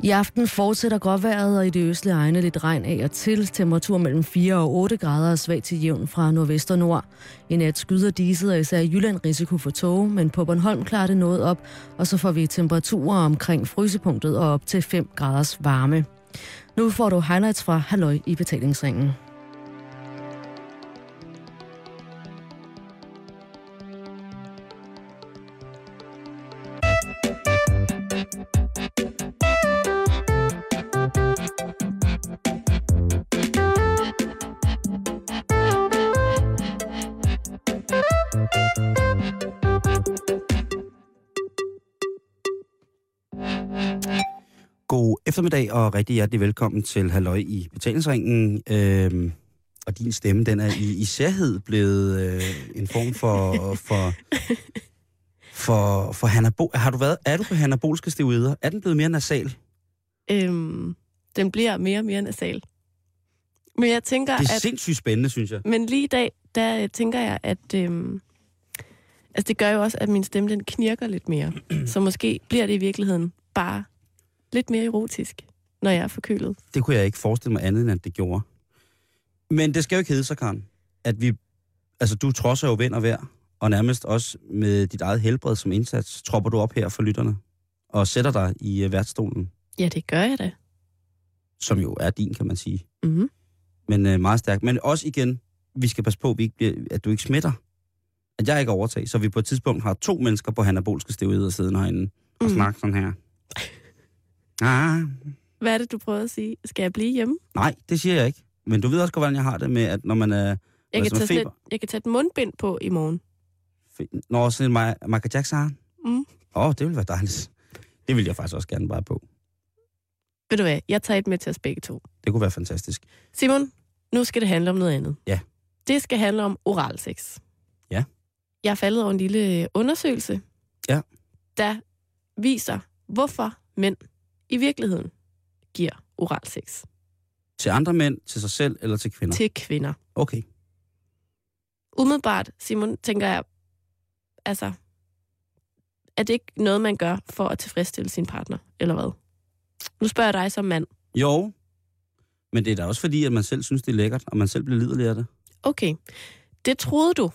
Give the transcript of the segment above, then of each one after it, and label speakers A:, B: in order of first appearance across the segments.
A: I aften fortsætter gråvejret, og i det østlige egne lidt regn af og til. Temperatur mellem 4 og 8 grader og svag til jævn fra nordvest og nord. I nat skyder diset, og især i Jylland risiko for tåge, men på Bornholm klarer det noget op, og så får vi temperaturer omkring frysepunktet og op til 5 graders varme. Nu får du highlights fra Halløj i betalingsringen.
B: God eftermiddag og rigtig hjertelig velkommen til Halløj i Betalingsringen. Øhm, og din stemme, den er i, i særhed blevet øh, en form for, for, for, for hanabo, har du været, er du på hanabolske steroider? Er den blevet mere nasal?
C: Øhm, den bliver mere og mere nasal. Men jeg tænker,
B: Det er
C: at...
B: sindssygt spændende, synes jeg.
C: Men lige i dag, der øh, tænker jeg, at... Øhm, altså, det gør jo også, at min stemme, den knirker lidt mere. Så måske bliver det i virkeligheden bare lidt mere erotisk, når jeg er forkølet.
B: Det kunne jeg ikke forestille mig andet, end at det gjorde. Men det skal jo ikke hedde sig, Karen, at vi... Altså, du trodser jo vind og vejr, og nærmest også med dit eget helbred som indsats, tropper du op her for lytterne og sætter dig i øh, værtsstolen,
C: Ja, det gør jeg da.
B: som jo er din, kan man sige.
C: Mm-hmm.
B: men øh, meget stærk. Men også igen, vi skal passe på, at, vi ikke bliver, at du ikke smitter. At jeg ikke overtager, så vi på et tidspunkt har to mennesker på hanabolske steroider siden herinde og
C: Mm.
B: mm. snakker sådan her. Ah,
C: Hvad er det, du prøver at sige? Skal jeg blive hjemme?
B: nej, det siger jeg ikke. Men du ved også godt, hvordan jeg har det med, at når man øh, er...
C: Jeg,
B: Hvad
C: kan
B: så med
C: tage, sådan
B: feber?
C: et, jeg kan tage et mundbind på i morgen.
B: Øh, når sådan en Ma- Michael Jackson har...
C: Mm.
B: Åh, oh, det ville være dejligt. Det ville jeg faktisk også gerne bare på.
C: Ved du hvad? Jeg tager et med til os begge to.
B: Det kunne være fantastisk.
C: Simon, nu skal det handle om noget andet.
B: Ja.
C: Det skal handle om oralsex.
B: Ja.
C: Jeg er faldet over en lille undersøgelse,
B: Ja.
C: der viser, hvorfor mænd i virkeligheden giver oralsex
B: Til andre mænd, til sig selv eller til kvinder?
C: til kvinder.
B: Okay.
C: Umiddelbart, Simon, tænker jeg, altså, er det ikke noget, man gør for at tilfredsstille sin partner, eller hvad? Nu spørger jeg dig som mand.
B: Jo, men det er da også fordi, at man selv synes, det er lækkert, og man selv bliver liderlig af det.
C: Okay, det troede du,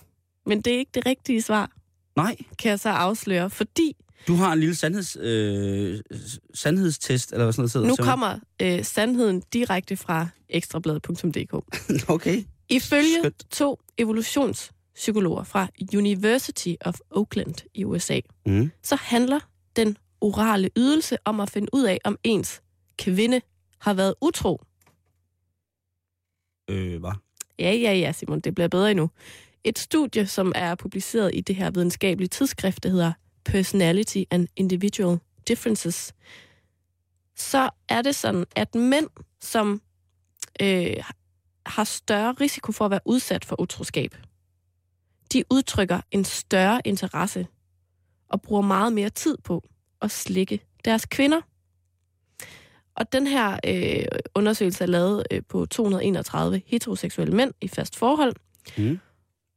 C: men det er ikke det rigtige svar,
B: Nej,
C: kan jeg så afsløre, fordi
B: Du har en lille sandheds, øh, s- sandhedstest, eller hvad sådan noget sidder.
C: Nu kommer øh, sandheden direkte fra ekstrabladet.dk.
B: okay.
C: Ifølge
B: Skønt.
C: to evolutionspsykologer fra University of Oakland i USA,
B: Mm.
C: så handler den orale ydelse om at finde ud af, om ens kvinde har været utro.
B: Øh, hvad?
C: Ja, ja, ja, Simon, det bliver bedre endnu. Et studie, som er publiceret i det her videnskabelige tidsskrift, der hedder Personality and Individual Differences, så er det sådan, at mænd, som øh, har større risiko for at være udsat for utroskab, de udtrykker en større interesse og bruger meget mere tid på at slikke deres kvinder. Og den her øh, undersøgelse er lavet øh, på 231 heteroseksuelle mænd i fast forhold.
B: Mm.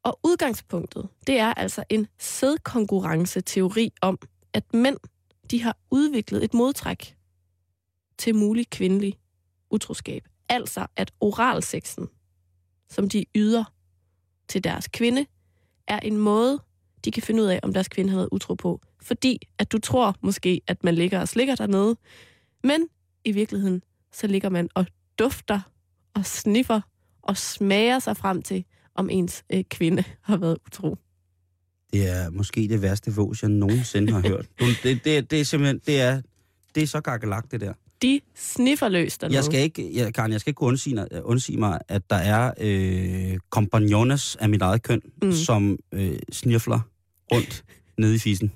C: Og udgangspunktet, det er altså en sædkonkurrenceteori om, at mænd, de har udviklet et modtræk til mulig kvindelig utroskab. Altså at oralsexen, som de yder til deres kvinde, er en måde, de kan finde ud af, om deres kvinde har været utro på. Fordi at du tror måske, at man ligger og slikker dernede, men i virkeligheden, så ligger man og dufter og sniffer og smager sig frem til, om ens øh, kvinde har været utro.
B: Det er måske det værste vås, jeg nogensinde har hørt. Du, det, det, det, er simpelthen, det er, det er så gakkelagt, det der.
C: De sniffer løs dernede.
B: Jeg skal ikke, jeg, Karen, jeg skal ikke kunne undsige, øh, undsige mig, at der er øh, kompagnones af mit eget køn,
C: Mm.
B: mm. som øh, snirfler rundt nede i fisen.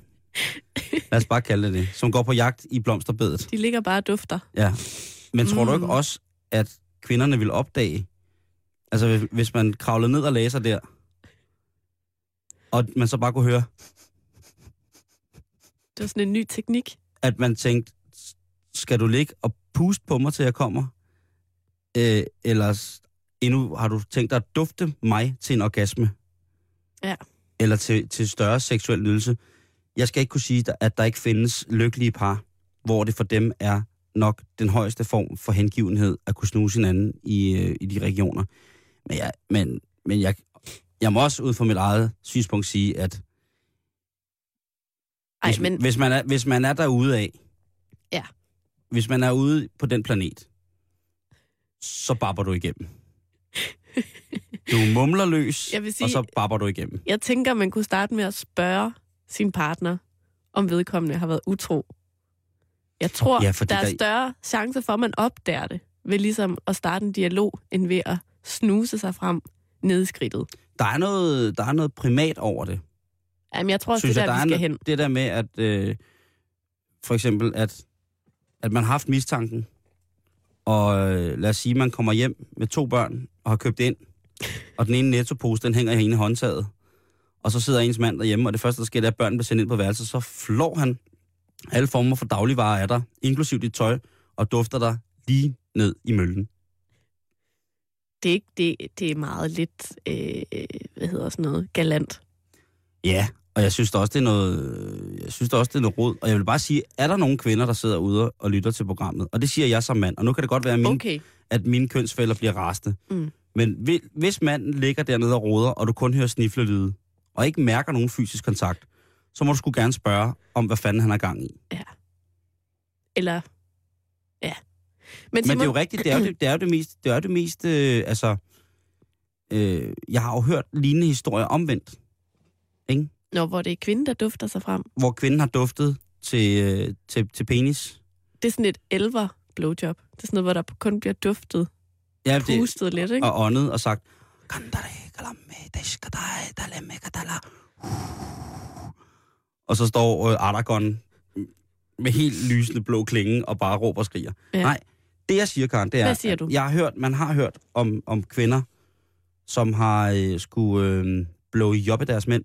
B: Lad os bare kalde det det. Som går på jagt i blomsterbedet.
C: De ligger bare og dufter.
B: Ja. Men tror du ikke
C: Mm.
B: også, at kvinderne ville opdage, altså hvis- hvis man kravlede ned og lagde sig der, og man så bare kunne høre,
C: Det var sådan en ny teknik.
B: at man tænkte, "S- skal du ligge og puste på mig, til jeg kommer? Øh, ellers endnu har du tænkt dig at dufte mig til en orgasme?
C: Ja.
B: Eller til, til større seksuel nydelse? Jeg skal ikke kunne sige, at der ikke findes lykkelige par, hvor det for dem er nok den højeste form for hengivenhed at kunne snuse hinanden i, øh, i de regioner. Men, jeg, men, men jeg, jeg må også ud fra mit eget synspunkt sige, at
C: Ej,
B: hvis,
C: men
B: hvis, man er, hvis man er derude af,
C: Ja.
B: hvis man er ude på den planet, så babber du igennem. Du mumler løs,
C: Jeg vil sige-
B: og så babber du igennem.
C: jeg tænker, man kunne starte med at spørge sin partner, om vedkommende har været utro. Jeg tror,
B: Ja,
C: ja,
B: fordi
C: der er
B: der-
C: større chance for, at man opdager det, ved ligesom at starte en dialog, end ved at snuse sig frem ned i skridtet.
B: Der er noget, der er noget primat over det.
C: Jamen, jeg tror også, det er
B: jeg,
C: der, vi
B: er
C: skal
B: en-
C: hen.
B: det der med, at øh, for eksempel, at, at man har haft mistanken, og øh, lad os sige, man kommer hjem med to børn og har købt ind, og den ene nettopose, den hænger i ene håndtaget, og så sidder ens mand derhjemme, og det første, der sker, det er, at børnene bliver sendt ind på værelset, så flår han alle former for dagligvarer af dig, inklusiv dit tøj, og dufter dig lige ned i møllen.
C: Det er, ikke, det, det er meget lidt, øh, øh, hvad hedder sådan noget, galant.
B: Ja, og jeg synes da også, det er noget, øh, jeg synes da også, det er noget råd. Og jeg vil bare sige, er der nogle kvinder, der sidder ude og lytter til programmet? Og det siger jeg som mand. Og nu kan det godt være, at mine, okay.
C: Okay,
B: at mine kønsfælder bliver rasende.
C: Mm.
B: Men hvi- hvis manden ligger dernede og råder, og du kun hører sniflelyde, og ikke mærker nogen fysisk kontakt, så må du sgu gerne spørge om, hvad fanden han har gang i.
C: eller... Ja. Men,
B: Men
C: Simon,
B: det er jo rigtigt, det er jo det, det, er jo det mest, det er jo det mest øh, altså, øh, jeg har jo hørt lignende historier omvendt,
C: Nå, hvor det er kvinden, der dufter sig frem.
B: hvor kvinden har duftet til, øh, til, til penis.
C: Det er sådan et elver blowjob. Det er sådan noget, hvor der kun bliver duftet,
B: Ja, det-
C: pustet lidt, ikke?
B: og åndet og sagt, "Kandare kalamme deskadai dalemme kadala." og så står øh, Ardagon med helt lysende blå klinge og bare råber og skriger. Ja.
C: Ja.
B: Nej, det jeg siger, Karen, det er,
C: Hvad siger du?
B: At jeg har hørt, man har hørt om, om kvinder, som har øh, skulle øh, blå jobbe deres mænd.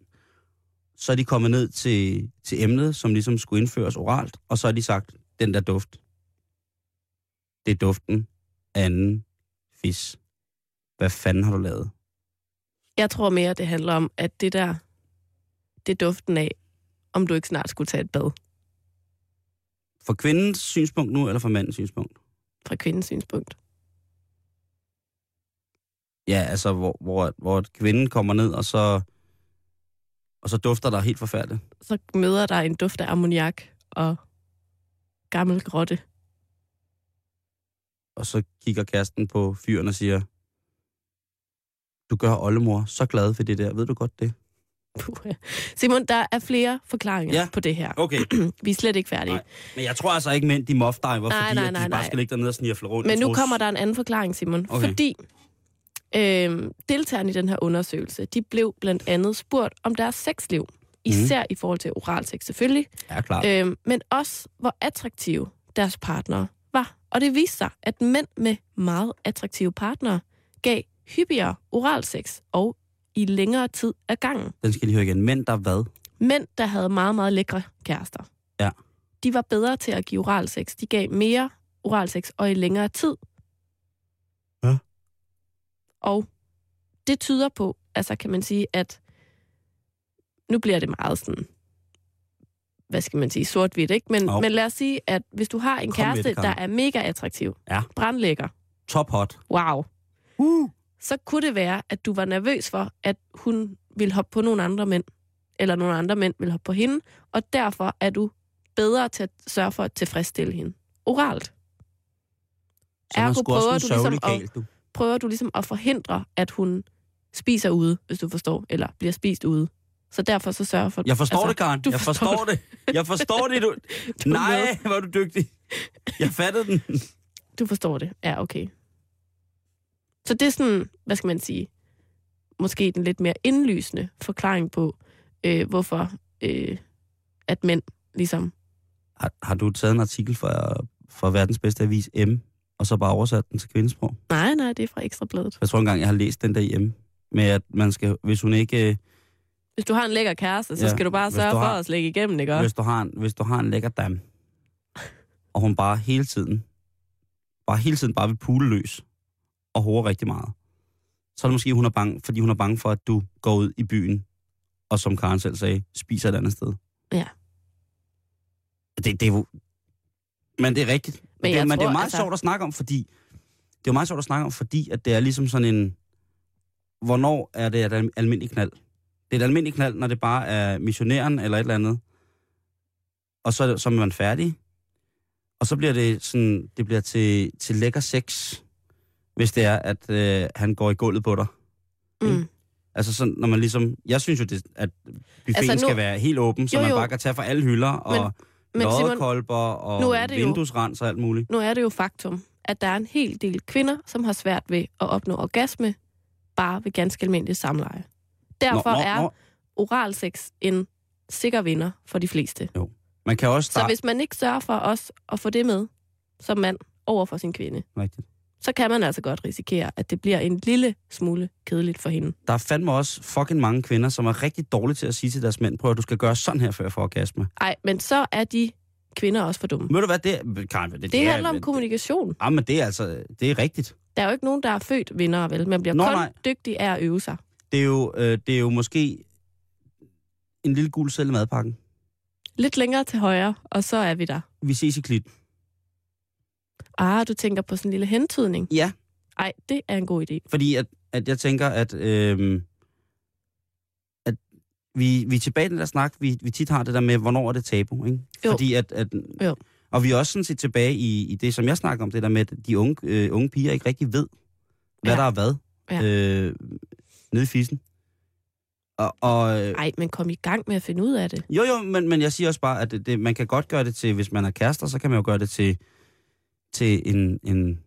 B: Så er de kommet ned til, til emnet, som ligesom skulle indføres oralt, og så har de sagt, den der duft, det er duften af anden fis. Hvad fanden har du lavet?
C: Jeg tror mere, det handler om, at det der, det er duften af, om du ikke snart skulle tage et bad
B: For kvindens synspunkt nu, eller for mandens synspunkt?
C: fra kvindens synspunkt.
B: Ja, altså, hvor, hvor, hvor at kvinden kommer ned, og så, og så dufter der helt forfærdeligt.
C: Så møder der en duft af ammoniak og gammel grotte.
B: Og så kigger kæresten på fyren og siger, du gør oldemor så glad for det der. Ved du godt det?
C: Puh. Simon, der er flere forklaringer
B: Ja.
C: på det her.
B: Okay,
C: Vi er slet ikke færdige.
B: Nej, men jeg tror altså ikke, mænd de mofdiver,
C: Nej,
B: fordi
C: nej,
B: at de bare
C: nej, nej.
B: skal ligge dernede og snirfle rundt.
C: Men
B: og
C: nu
B: trus.
C: kommer der en anden forklaring, Simon.
B: Okay.
C: Okay. Fordi øh, deltagerne i den her undersøgelse, de blev blandt andet spurgt om deres sexliv. Især mm. i forhold til oralsex selvfølgelig.
B: Mhm. Ja, klart.
C: Øhm, men også, hvor attraktive deres partnere var. Og det viste sig, at mænd med meget attraktive partnere gav hyppigere oralsex og i længere tid ad gangen.
B: Den skal jeg lige høre igen. Mænd, der hvad?
C: Mænd, der havde meget, meget lækre kærester,
B: Ja.
C: de var bedre til at give oralsex. De gav mere oralsex og i længere tid.
B: Ja.
C: Og det tyder på, altså kan man sige, at nu bliver det meget sådan, hvad skal man sige, sort-hvidt, ikke? Men,
B: Jo.
C: men lad os sige, at hvis du har en
B: Kom med det,
C: kæreste, der
B: Karen.
C: er mega attraktiv,
B: Ja.
C: brandlækker,
B: Top hot.
C: wow,
B: Uh.
C: så kunne det være, at du var nervøs for, at hun ville hoppe på nogle andre mænd, eller nogle andre mænd ville hoppe på hende, og derfor er du bedre til at sørge for at tilfredsstille hende. Oralt.
B: Så man
C: Ergo
B: skulle også
C: prøver
B: en
C: du ligesom
B: sørgelig
C: at-
B: kæl, du.
C: Prøver du ligesom at forhindre, at hun spiser ude, hvis du forstår, eller bliver spist ude. Så derfor så sørger for...
B: Jeg forstår altså,
C: altså,
B: det, Karen.
C: du
B: Jeg
C: forstår
B: forstår det. Jeg forstår det. Du...
C: Du er
B: Nej, hvor er du dygtig. Jeg fattede den.
C: Du forstår det. Ja, okay. Så det er sådan, hvad skal man sige, måske den lidt mere indlysende forklaring på, øh, hvorfor øh, at mænd ligesom
B: Har, har du taget en artikel fra, fra verdens bedste avis M, og så bare oversat den til kvindesprog?
C: Nej, nej, det er fra Ekstrabladet.
B: Jeg tror engang, jeg har læst den der i M, med at man skal, hvis hun ikke... øh,
C: Hvis du har en lækker kæreste, så
B: Ja,
C: ja, skal du bare
B: hvis
C: sørge
B: du har-
C: for at slække igennem, ikke også?
B: Hvis du, har en, hvis du har en lækker dam, og hun bare hele tiden, bare hele tiden bare vil pule løs, og hårer rigtig meget, så er det måske, hun er bange, fordi hun er bange for, at du går ud i byen, og som Karen selv sagde, spiser et andet sted.
C: Ja.
B: Det, det er jo... Men det er rigtigt. Men, det,
C: jeg
B: men det er
C: tror,
B: jo meget
C: altså-
B: altså... sjovt at snakke om, fordi... Det er jo meget sjovt at snakke om, fordi at det er ligesom sådan en... Hvornår er det et al- almindeligt knald? Det er et almindeligt knald, når det bare er missionæren eller et eller andet. Og så, er det- så er man færdig. Og så bliver det sådan... Det bliver til, til lækker sex, hvis det er, at øh, han går i gulvet på dig.
C: Mm.
B: Altså sådan, når man ligesom... Jeg synes jo, det, at buffeten
C: Altså,
B: altså
C: nu-
B: nu, skal være helt åben, så
C: Jo,
B: jo, jo.
C: jo.
B: man bare kan tage fra alle hylder og
C: Men Simon,
B: loddekolber og
C: nu er det jo-
B: vinduesrens og alt muligt.
C: nu er det jo faktum, at der er en hel del kvinder, som har svært ved at opnå orgasme, bare ved ganske almindelig samleje. Derfor nå, nå, er oralsex en sikker vinder for de fleste.
B: Man kan også
C: Så
B: starte...
C: hvis man ikke sørger for os at få det med som mand over for sin kvinde,
B: Rigtigt.
C: så kan man altså godt risikere, at det bliver en lille smule kedeligt for hende.
B: Der er fandme også fucking mange kvinder, som er rigtig dårlige til at sige til deres mænd, prøv at du skal gøre sådan her, før jeg får orgasme.
C: Ej, men så er de kvinder også for dumme.
B: Ved du hvad, det er... Karen, det,
C: Det handler om
B: det-
C: kommunikation.
B: Ja, men det er altså... Det er rigtigt.
C: Der er jo ikke nogen, der er født vinder, vel? Man bliver
B: Nå,
C: kun
B: nej.
C: dygtig af at øve sig.
B: Det er jo, øh, det er jo måske en lille gul selv i madpakken.
C: Lidt længere til højre, og så er vi der.
B: Vi ses i klit.
C: Ah, du tænker på sådan en lille hentydning.
B: Ja.
C: Ej, det er en god idé.
B: Fordi at, at jeg tænker, at, øh, at vi, vi er tilbage i den der snak, vi, vi tit har det der med, hvornår er det tabu, ikke?
C: Jo.
B: Fordi at, at,
C: Jo.
B: Og vi er også sådan set tilbage i, i det, som jeg snakker om, det der med, at de unge, øh, unge piger ikke rigtig ved, hvad
C: Ja.
B: der er hvad
C: Ja.
B: øh, nede i fissen. Og, og, øh,
C: Ej, men kom i gang med at finde ud af det.
B: jo, jo, men, men jeg siger også bare, at det, det, man kan godt gøre det til, hvis man er kærester, så kan man jo gøre det til, til en, en,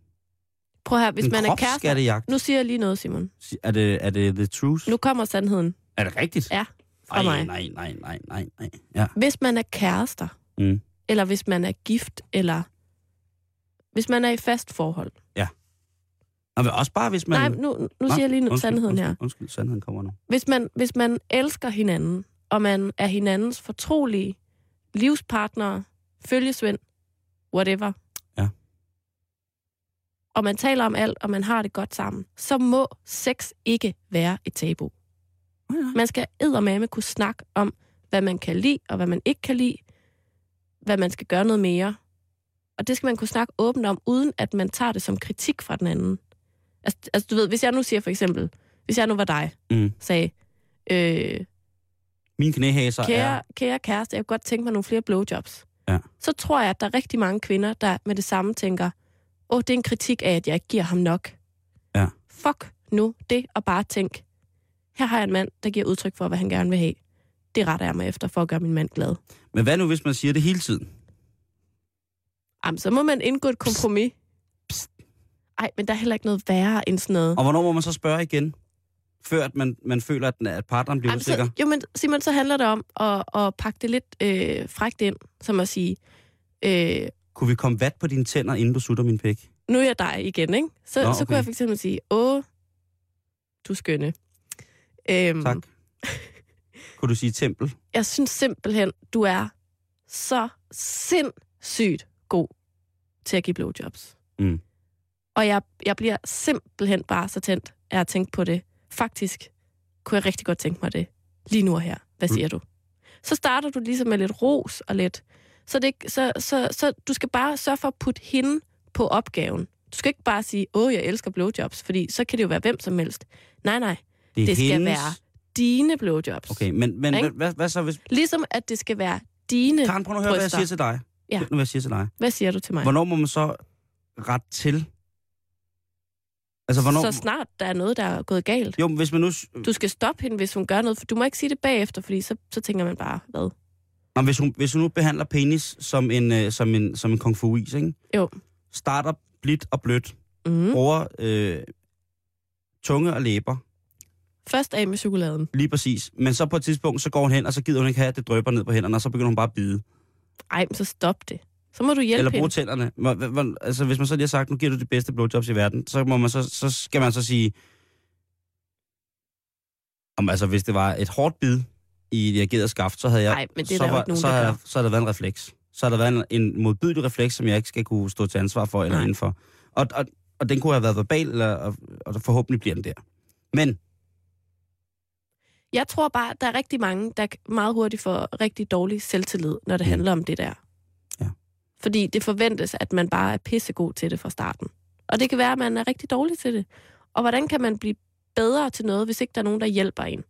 C: Prøv her, hvis
B: en
C: man er kærester...
B: kropsskattejagt.
C: Nu siger jeg lige noget, Simon.
B: Er det, er det the truth?
C: Nu kommer sandheden
B: Er det rigtigt?
C: Ja, fra
B: Ej,
C: mig.
B: nej, nej, nej, nej, nej. Ja.
C: Hvis man er kærester,
B: Mm.
C: eller hvis man er gift, eller hvis man er i fast forhold.
B: Og vel også bare, hvis man...
C: Men, Nej, nu, nu
B: Nå,
C: siger jeg lige undskyld,
B: undskyld,
C: sandheden
B: undskyld,
C: her.
B: Undskyld, sandheden kommer nu.
C: Hvis man, hvis man elsker hinanden, og man er hinandens fortrolige livspartnere, følgesvend, whatever.
B: Ja.
C: Og man taler om alt, og man har det godt sammen, så må sex ikke være et tabu. Man skal eddermame kunne snakke om, hvad man kan lide, og hvad man ikke kan lide, hvad man skal gøre noget mere. Og det skal man kunne snakke åbent om, uden at man tager det som kritik fra den anden. Altså, altså du ved, hvis jeg nu siger for eksempel, hvis jeg nu var dig,
B: Mm.
C: sagde, øh,
B: Min knæhæser
C: kære,
B: er...
C: kære kæreste, jeg kunne godt tænke mig nogle flere blowjobs.
B: Ja.
C: Så tror jeg, at der er rigtig mange kvinder, der med det samme tænker, åh, det er en kritik af, at jeg ikke giver ham nok.
B: Ja.
C: Fuck nu det, og bare tænk, her har jeg en mand, der giver udtryk for, hvad han gerne vil have. Det retter jeg mig efter for at gøre min mand glad.
B: Men hvad nu, hvis man siger det hele tiden?
C: Jamen, så må man indgå et kompromis.
B: Psst.
C: Ej, men der er heller ikke noget værre end sådan noget.
B: Og hvornår må man så spørge igen? Før at man, man føler, at, den- at partneren bliver
C: Jamen,
B: usikker?
C: så, jo, men Simon, så handler det om at, at pakke det lidt øh, frækt ind, som at sige, øh,
B: Kunne vi komme vat på dine tænder, inden du sutter min pæk?
C: nu er jeg dig igen, ikke? Så, Nå,
B: Nå,
C: okay. så
B: okay.
C: kunne jeg for eksempel sige, åh, du er skønne. Øhm,
B: Tak. Kunne du sige tempel?
C: Jeg synes simpelthen, du er så sindssygt god til at give blowjobs.
B: Mm.
C: Og jeg, jeg bliver simpelthen bare så tændt af at tænke på det. Faktisk kunne jeg rigtig godt tænke mig det lige nu og her. Hvad
B: Mm.
C: siger du? Så starter du ligesom med lidt ros og lidt... Så, det, ikke- så, så, så du skal bare sørge for at putte hende på opgaven. Du skal ikke bare sige, åh, jeg elsker blowjobs, fordi så kan det jo være hvem som helst. Nej, nej,
B: Det, er
C: det skal
B: hendes...
C: være dine blowjobs.
B: Okay, men, men
C: Ikke?
B: hvad, hvad, hvad så hvis...
C: Ligesom at det skal være dine...
B: Karen, prøv nu at høre, hvad jeg
C: Bryster.
B: siger til dig.
C: Ja.
B: Hør Nu, hvad jeg siger til dig.
C: Hvad siger du til mig?
B: Hvornår må man så ret til? Altså, hvornår... Mm.
C: Så snart der er noget, der er gået galt.
B: Jo, men hvis man nu...
C: Du skal stoppe hende, hvis hun gør noget, for du må ikke sige det bagefter, fordi så, så tænker man bare, hvad?
B: Nå, hvis, hun, hvis hun nu behandler penis som en, øh, som en, som en kung fu is, ikke?
C: Jo.
B: Starter blidt og blødt. Mm.
C: Mm.
B: Bruger øh, tunge og læber.
C: Først af med chokoladen.
B: Lige præcis. Men så på et tidspunkt, så går hun hen, og så gider hun ikke have, at det drøber ned på hænderne, og så begynder hun bare at bide.
C: Ej, men så stop det. Så må du hjælpe
B: Eller bruge
C: hende.
B: tænderne. Hvor- hvor- hvor- Altså, hvis man så lige har sagt, nu giver du de bedste blowjobs i verden, så, må man så, så skal man så sige... Om, altså, hvis det var et hårdt bid i et reageret skaft, så havde jeg...
C: Nej, men det er
B: så,
C: der jo ikke nogen,
B: så,
C: der
B: havde,
C: gør.
B: så havde der været en refleks. Så havde der været en, en modbydelig refleks, som jeg ikke skal kunne stå til ansvar for eller
C: Nej.
B: Nej. indenfor. Og, og, og den kunne have været verbal, eller, og, og forhåbentlig bliver den der. Men
C: Jeg tror bare, der er rigtig mange, der meget hurtigt får rigtig dårlig selvtillid, når det
B: Mm.
C: handler om det der.
B: Ja.
C: Fordi det forventes, at man bare er pissegod til det fra starten. Og det kan være, at man er rigtig dårlig til det. Og hvordan kan man blive bedre til noget, hvis ikke der er nogen, der hjælper en?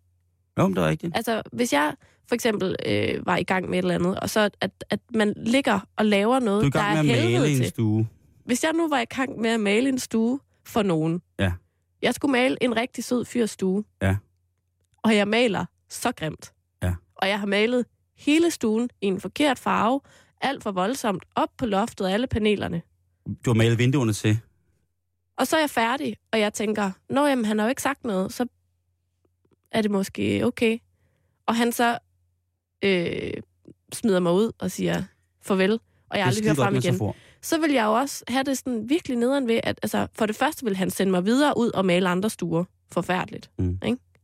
B: Jo, men det er rigtigt.
C: Altså, hvis jeg for eksempel øh, var i gang med et eller andet, og så at, at man ligger og laver noget,
B: Du er i
C: der er
B: gang med at
C: helvede
B: male i en
C: til.
B: stue.
C: Hvis jeg nu var i gang med at male en stue for nogen.
B: Ja.
C: Jeg skulle male en rigtig sød fyrs stue.
B: Ja.
C: Og jeg maler så grimt.
B: Ja.
C: Og jeg har malet hele stuen i en forkert farve, alt for voldsomt, op på loftet og alle panelerne.
B: Du har malet vinduerne til.
C: Og så er jeg færdig, og jeg tænker, nå jamen, han har jo ikke sagt noget, så er det måske okay. Og han så øh, smider mig ud og siger farvel, og jeg aldrig hører frem igen.
B: igen.
C: Så vil jeg jo også have det sådan virkelig nederen ved, at altså, for det første vil han sende mig videre ud og male andre stuer. Forfærdeligt.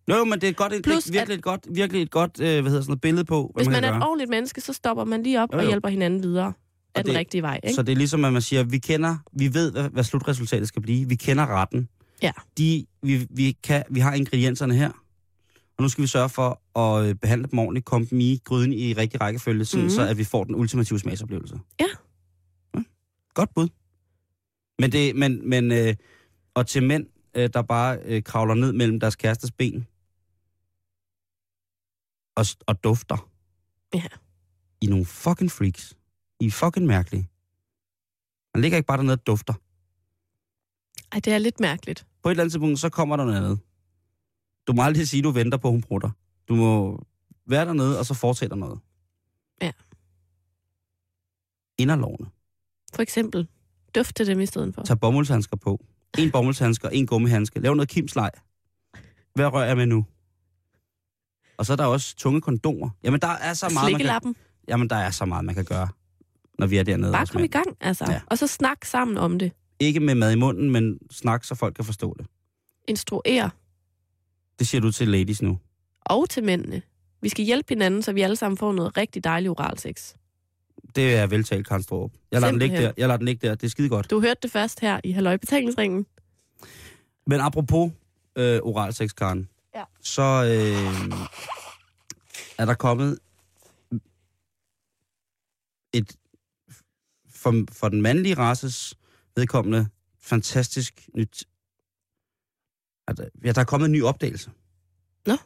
B: Jo, jo, men det er, et godt, det
C: Plus,
B: er virkelig, et godt, virkelig et godt øh, hvad hedder sådan noget, billede på, hvad
C: Hvis
B: man
C: man
B: kan
C: er et
B: gøre.
C: ordentligt menneske, så stopper man lige op
B: Jo,
C: og
B: jo.
C: hjælper hinanden videre af
B: Og
C: den
B: det-
C: rigtige vej. Ikke?
B: Så det er ligesom, at man siger, vi kender, vi ved, hvad, hvad slutresultatet skal blive. Vi kender retten.
C: Ja.
B: De, vi, vi, kan, vi har ingredienserne her, og nu skal vi sørge for at øh, behandle dem ordentligt, komme dem i gryden i rigtig rækkefølge, sådan,
C: Mhm.
B: mm. så at vi får den ultimative smagsoplevelse.
C: Ja.
B: ja. Godt bud. Men, det, men, men øh, og til mænd, øh, der bare øh, kravler ned mellem deres kærestes ben og, s- og dufter.
C: Ja.
B: I er nogle fucking freaks. I er fucking mærkelige. Man ligger ikke bare dernede og dufter.
C: Ej, det er lidt mærkeligt.
B: På et eller andet tidspunkt, så kommer der noget andet. Du må aldrig sige, at du venter på, at hun bruger dig. Du må være dernede, og så fortsætter noget.
C: Ja.
B: Inderlovene.
C: For eksempel, dufte dem i stedet for.
B: Tag bomuldshandsker på. En bomuldshandsker, en gummihandske. Lav noget kimslej. Hvad rører jeg med nu? Og så er der også tunge kondomer. Jamen, der er så meget, man kan,
C: Slikkelappen.
B: jamen, der er så meget, man kan gøre, når vi er dernede.
C: Bare
B: hos
C: kom i
B: mænd.
C: gang, altså.
B: Ja.
C: Ja. Og så snak sammen om det.
B: Ikke med mad i munden, men snak, så folk kan forstå det.
C: Instruer.
B: Det siger du til ladies nu.
C: Og til mændene. Vi skal hjælpe hinanden, så vi alle sammen får noget rigtig dejligt oral sex.
B: Det er veltalt, Karen Storup. Jeg lader, den ligge der.
C: Simpelthen.
B: jeg lader den ligge der. Det er skide godt.
C: Du hørte det først her i Halløj Betalingsringen.
B: Men apropos øh, oralsex, Karen,
C: Ja.
B: så øh, er der kommet et for, for den mandlige races vedkommende fantastisk nyt... at- Ja, der er kommet en ny opdagelse.
C: Nå.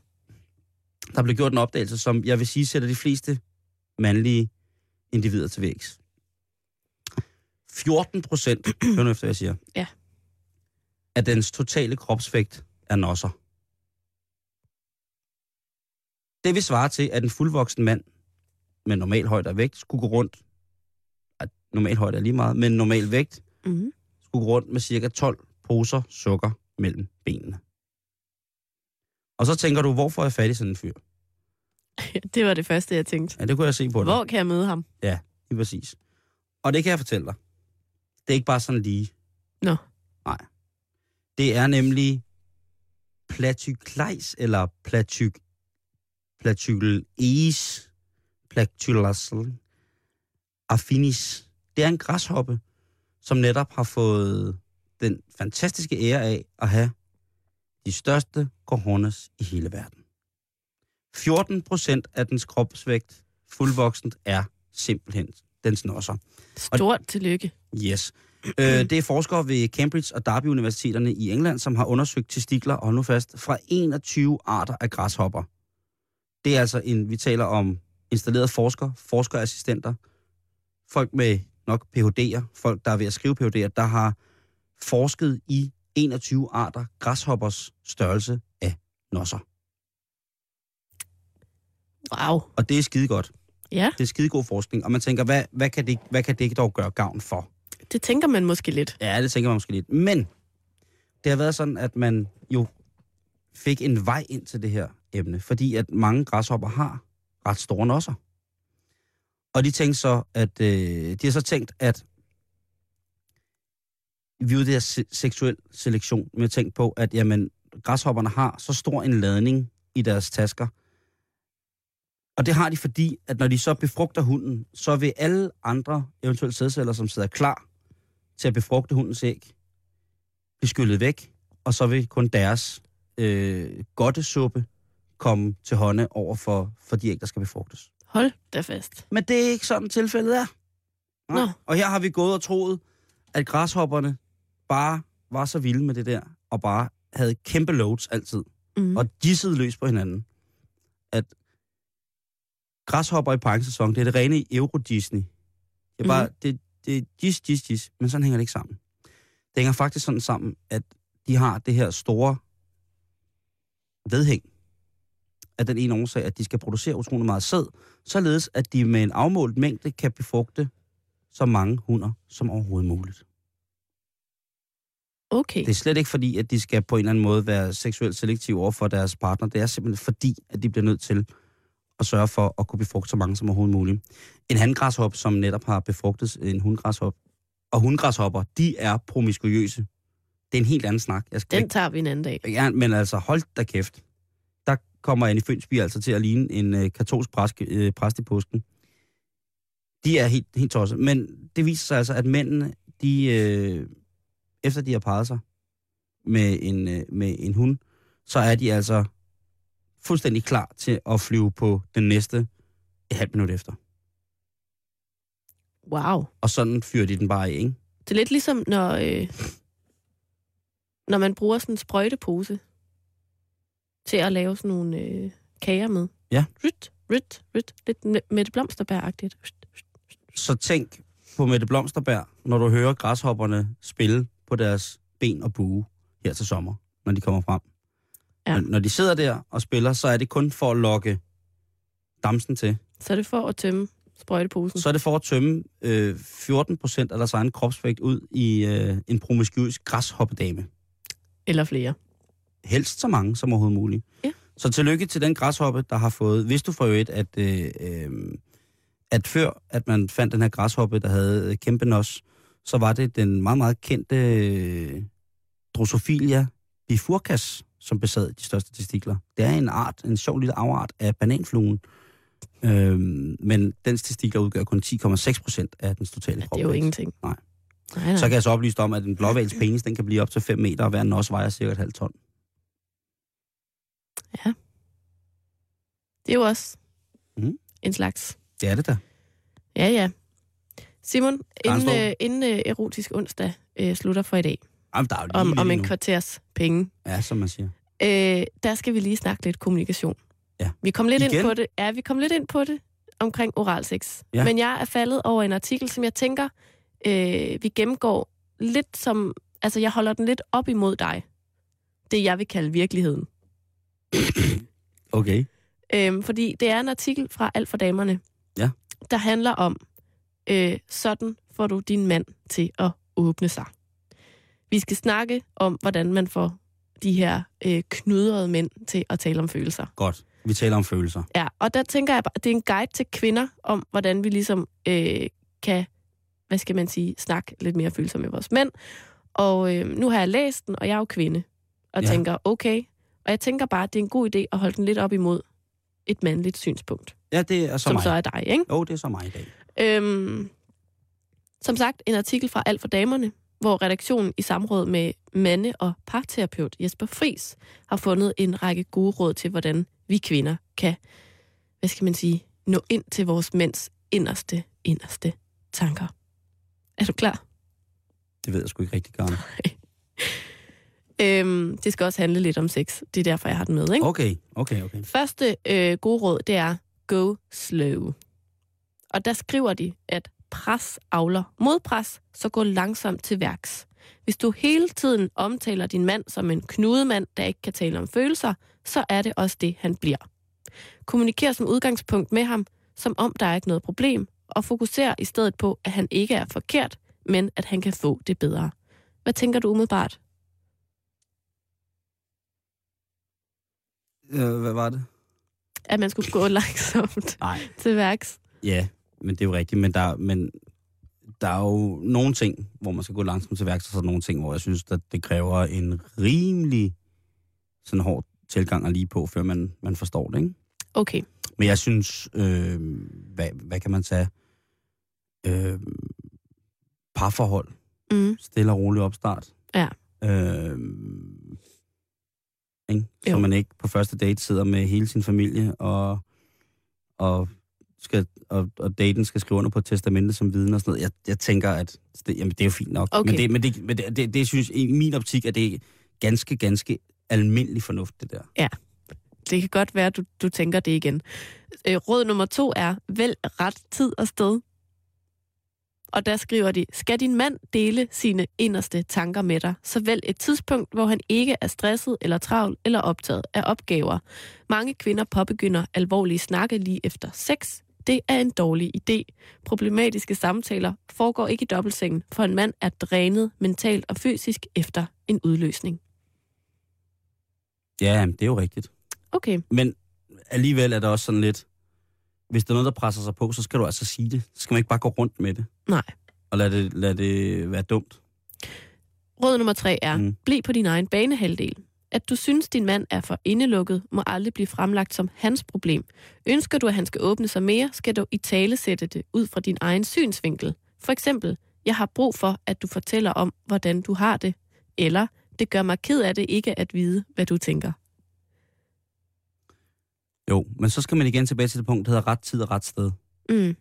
B: Der blev gjort en opdagelse, som jeg vil sige sætter de fleste mandlige individer til vægs. 14 procent, hør nu efter, hvad jeg siger, at dens totale kropsvægt er nosser. Det vil svare til, at en fuldvoksen mand med normal højde og vægt skulle gå rundt, at normal højde er lige meget, men normal vægt
C: Mm-hmm.
B: skulle gå rundt med cirka 12 poser sukker mellem benene. Og så tænker du, hvorfor er jeg fattig sådan en fyr?
C: Det var det første, jeg tænkte.
B: Ja, det kunne jeg se på dig.
C: Hvor kan jeg møde ham?
B: Lige præcis. Og det kan jeg fortælle dig. Det er ikke bare sådan lige.
C: Nå.
B: Nej. Det er nemlig platyklejs, eller platyk... Platyklaes, platylasl, affinis. Det er en græshoppe, som netop har fået den fantastiske ære af at have de største coronas i hele verden. 14 procent af dens kropsvægt fuldvoksent er simpelthen dens nosser.
C: Stort tillykke.
B: Yes. Øh, det er forskere ved Cambridge og Derby universiteterne i England, som har undersøgt testikler, og nu fast, fra 21 arter af græshopper. Det er altså en, vi taler om installerede forskere, forskerassistenter, folk med nok PhD'er, folk, der er ved at skrive PhD'er, der har forsket i 21 arter græshoppers størrelse af nosser.
C: Wow.
B: Og det er skide godt.
C: Ja,
B: Det er skidegod forskning, og man tænker, hvad, hvad, kan det, hvad kan det dog gøre gavn for?
C: det tænker man måske lidt.
B: Ja, det tænker man måske lidt. Men det har været sådan, at man jo fik en vej ind til det her emne, fordi at mange græshopper har ret store nosser. Og de tænkte så, at øh, de har så tænkt, at vi er jo det her se- seksuel selektion med at tænke på, at jamen, græshopperne har så stor en ladning i deres tasker. Og det har de, fordi at når de så befrugter hunden, så vil alle andre eventuelle sædceller, som sidder klar til at befrugte hundens æg, blive skyllet væk, og så vil kun deres øh, godtesuppe komme til hånde over for, for de æg, der skal befrugtes.
C: Hold da fast.
B: Men det er ikke sådan tilfældet er. Nej.
C: Nå.
B: Og her har vi gået og troet, at græshopperne bare var så vilde med det der, og bare havde kæmpe loads altid,
C: Mm.
B: mm. og dissede løs på hinanden. At græshopper i parkinsæson, det er det rene euro-Disney. Det er bare, mm. det, det er dis, dis, dis, men sådan hænger det ikke sammen. Det hænger faktisk sådan sammen, at de har det her store vedhæng af den ene årsag, at de skal producere utrolig meget sæd, således at de med en afmålt mængde kan befrugte så mange hunder som overhovedet muligt.
C: Okay.
B: Det er slet ikke fordi, at de skal på en eller anden måde være seksuelt selektive over for deres partner. Det er simpelthen fordi, at de bliver nødt til at sørge for at kunne befrugte så mange som overhovedet muligt. En handgræshop, som netop har befrugtet en hundgræshop, og hundgræshopper, de er promiskuøse. Det er en helt anden snak. Jeg skal
C: Den tager vi en anden dag.
B: ikke, ja, men altså, hold da kæft. Der kommer Anne Fønsby altså til at ligne en øh, katolsk præst, øh, præst i påsken. De er helt, helt tosset. Men det viser sig altså, at mændene, de, øh, efter de har parret sig med en, øh, med en hund, så er de altså fuldstændig klar til at flyve på den næste et halvt minut efter.
C: Wow.
B: Og sådan fyrer de den bare af, ikke?
C: Det er lidt ligesom, når, øh, når man bruger sådan en sprøjtepose til at lave sådan nogle øh, kager med.
B: Ja.
C: Ryt, ryt, ryt. Lidt n- Mette Blomsterbær-agtigt. Ryt, ryt.
B: Så tænk på Mette Blomsterberg, når du hører græshopperne spille på deres ben og bue her til sommer, når de kommer frem.
C: Ja.
B: Ja. Når de sidder der og spiller, så er det kun for at lokke damsen til.
C: Så er det for at tømme sprøjteposen.
B: Så er det for at tømme øh, 14 procent af deres egen kropsvægt ud i øh, en promiskuøs græshoppedame.
C: Eller flere.
B: helst så mange som overhovedet muligt.
C: Ja.
B: Så tillykke til den græshoppe, der har fået... Vidste du for øvrigt, at, øh, øh, at før at man fandt den her græshoppe, der havde øh, kæmpe nos, så var det den meget, meget kendte øh, Drosophilia bifurcas, som besad de største testikler. Det er en art, en sjov lille afart af bananfluen. Øhm, men dens testikler udgør kun 10,6 procent af dens totale
C: Ja, det er jo
B: kropsvægt.
C: ingenting.
B: Nej.
C: nej, nej.
B: Så kan jeg så oplyse dig om, at en blåvals penis, den kan blive op til 5 meter, og hver nos vejer cirka et halvt ton.
C: Det er jo også
B: Mhm.
C: en slags.
B: Det er det da.
C: Ja, ja. Simon, inden,
B: Karlsborg.
C: øh, inden øh, erotisk onsdag øh, slutter for i dag,
B: Jamen, der er jo lige
C: om,
B: lidt
C: om en
B: endnu.
C: kvarters penge,
B: Ja, som man siger.
C: øh, der skal vi lige snakke lidt kommunikation.
B: Ja.
C: Vi kom lidt
B: Igen?
C: ind på det. Ja, vi kom lidt ind på det omkring oralsex.
B: Ja.
C: Men jeg er faldet over en artikel, som jeg tænker, øh, vi gennemgår lidt som... Altså, jeg holder den lidt op imod dig. Det, jeg vil kalde virkeligheden.
B: Okay.
C: Øhm, fordi det er en artikel fra Alt for Damerne,
B: Ja.
C: der handler om, øh, sådan får du din mand til at åbne sig. Vi skal snakke om, hvordan man får de her øh, knudrede mænd til at tale om følelser.
B: Godt. Vi taler om følelser.
C: Ja, og der tænker jeg bare, det er en guide til kvinder om, hvordan vi ligesom øh, kan, hvad skal man sige, snakke lidt mere følsomt med vores mænd. Og øh, nu har jeg læst den, og jeg er jo kvinde, og
B: Ja.
C: ja. tænker, okay. Og jeg tænker bare, at det er en god idé at holde den lidt op imod et mandligt synspunkt,
B: Ja, det er så
C: som
B: mig.
C: så er dig, ikke?
B: Jo, det er så mig i dag.
C: Øhm, som sagt, en artikel fra Alt for Damerne, hvor redaktionen i samråd med mande- og parterapeut Jesper Fris har fundet en række gode råd til, hvordan vi kvinder kan, hvad skal man sige, nå ind til vores mænds inderste, inderste tanker. Er du klar?
B: Det ved jeg sgu ikke rigtig gerne.
C: Øhm, det skal også handle lidt om sex. Det er derfor, jeg har den med, ikke?
B: Okay, okay, okay.
C: Første øh, gode råd, det er go slow. Og der skriver de, at pres avler modpres, så gå langsomt til værks. Hvis du hele tiden omtaler din mand som en knudemand, der ikke kan tale om følelser, så er det også det, han bliver. Kommuniker som udgangspunkt med ham, som om der er ikke noget problem, og fokuser i stedet på, at han ikke er forkert, men at han kan få det bedre. Hvad tænker du umiddelbart?
B: Øh, hvad var det?
C: At man skulle gå langsomt
B: Nej.
C: til værks?
B: Ja, men det er jo rigtigt, men der, men der er jo nogle ting, hvor man skal gå langsomt til værks, og så er der nogle ting, hvor jeg synes, at det kræver en rimelig sådan hård tilgang at lige på, før man, man forstår det, ikke?
C: Okay.
B: Men jeg synes, øh, hvad, hvad kan man sige? Øh, parforhold.
C: Mm.
B: stille og rolig opstart.
C: Ja.
B: Øh, ikke? Så
C: Jo.
B: man ikke på første date sidder med hele sin familie og, og skal og, og daten skal skrive under på et testamente som vidne og sådan noget. Jeg, jeg tænker, at det, jamen, det er jo fint nok.
C: Okay.
B: Men, det, men, det, men det, det, det synes i min optik, at det er ganske, ganske almindelig fornuft, det der.
C: Det kan godt være, du, du tænker det igen. Øh, råd nummer to er, vælg ret tid og sted. Og der skriver de, skal din mand dele sine inderste tanker med dig, så vælg et tidspunkt, hvor han ikke er stresset eller travl eller optaget af opgaver. Mange kvinder påbegynder alvorlige snakke lige efter sex. Det er en dårlig idé. Problematiske samtaler foregår ikke i dobbeltsengen, for en mand er drænet mentalt og fysisk efter en udløsning.
B: Ja, jamen, det er jo rigtigt.
C: Okay,
B: Men alligevel er det også sådan lidt, hvis der er noget, der presser sig på, så skal du altså sige det. Så skal man ikke bare gå rundt med det.
C: Nej.
B: Og lad det, lad det være dumt.
C: Råd nummer tre er,
B: Mm.
C: mm. bliv på din egen banehalvdel. At du synes, din mand er for indelukket, må aldrig blive fremlagt som hans problem. Ønsker du, at han skal åbne sig mere, skal du i tale sætte det ud fra din egen synsvinkel. For eksempel, jeg har brug for, at du fortæller om, hvordan du har det. Eller, det gør mig ked af det ikke at vide, hvad du tænker.
B: Jo, men så skal man igen tilbage til det punkt, der hedder ret tid og ret sted.
C: Mm.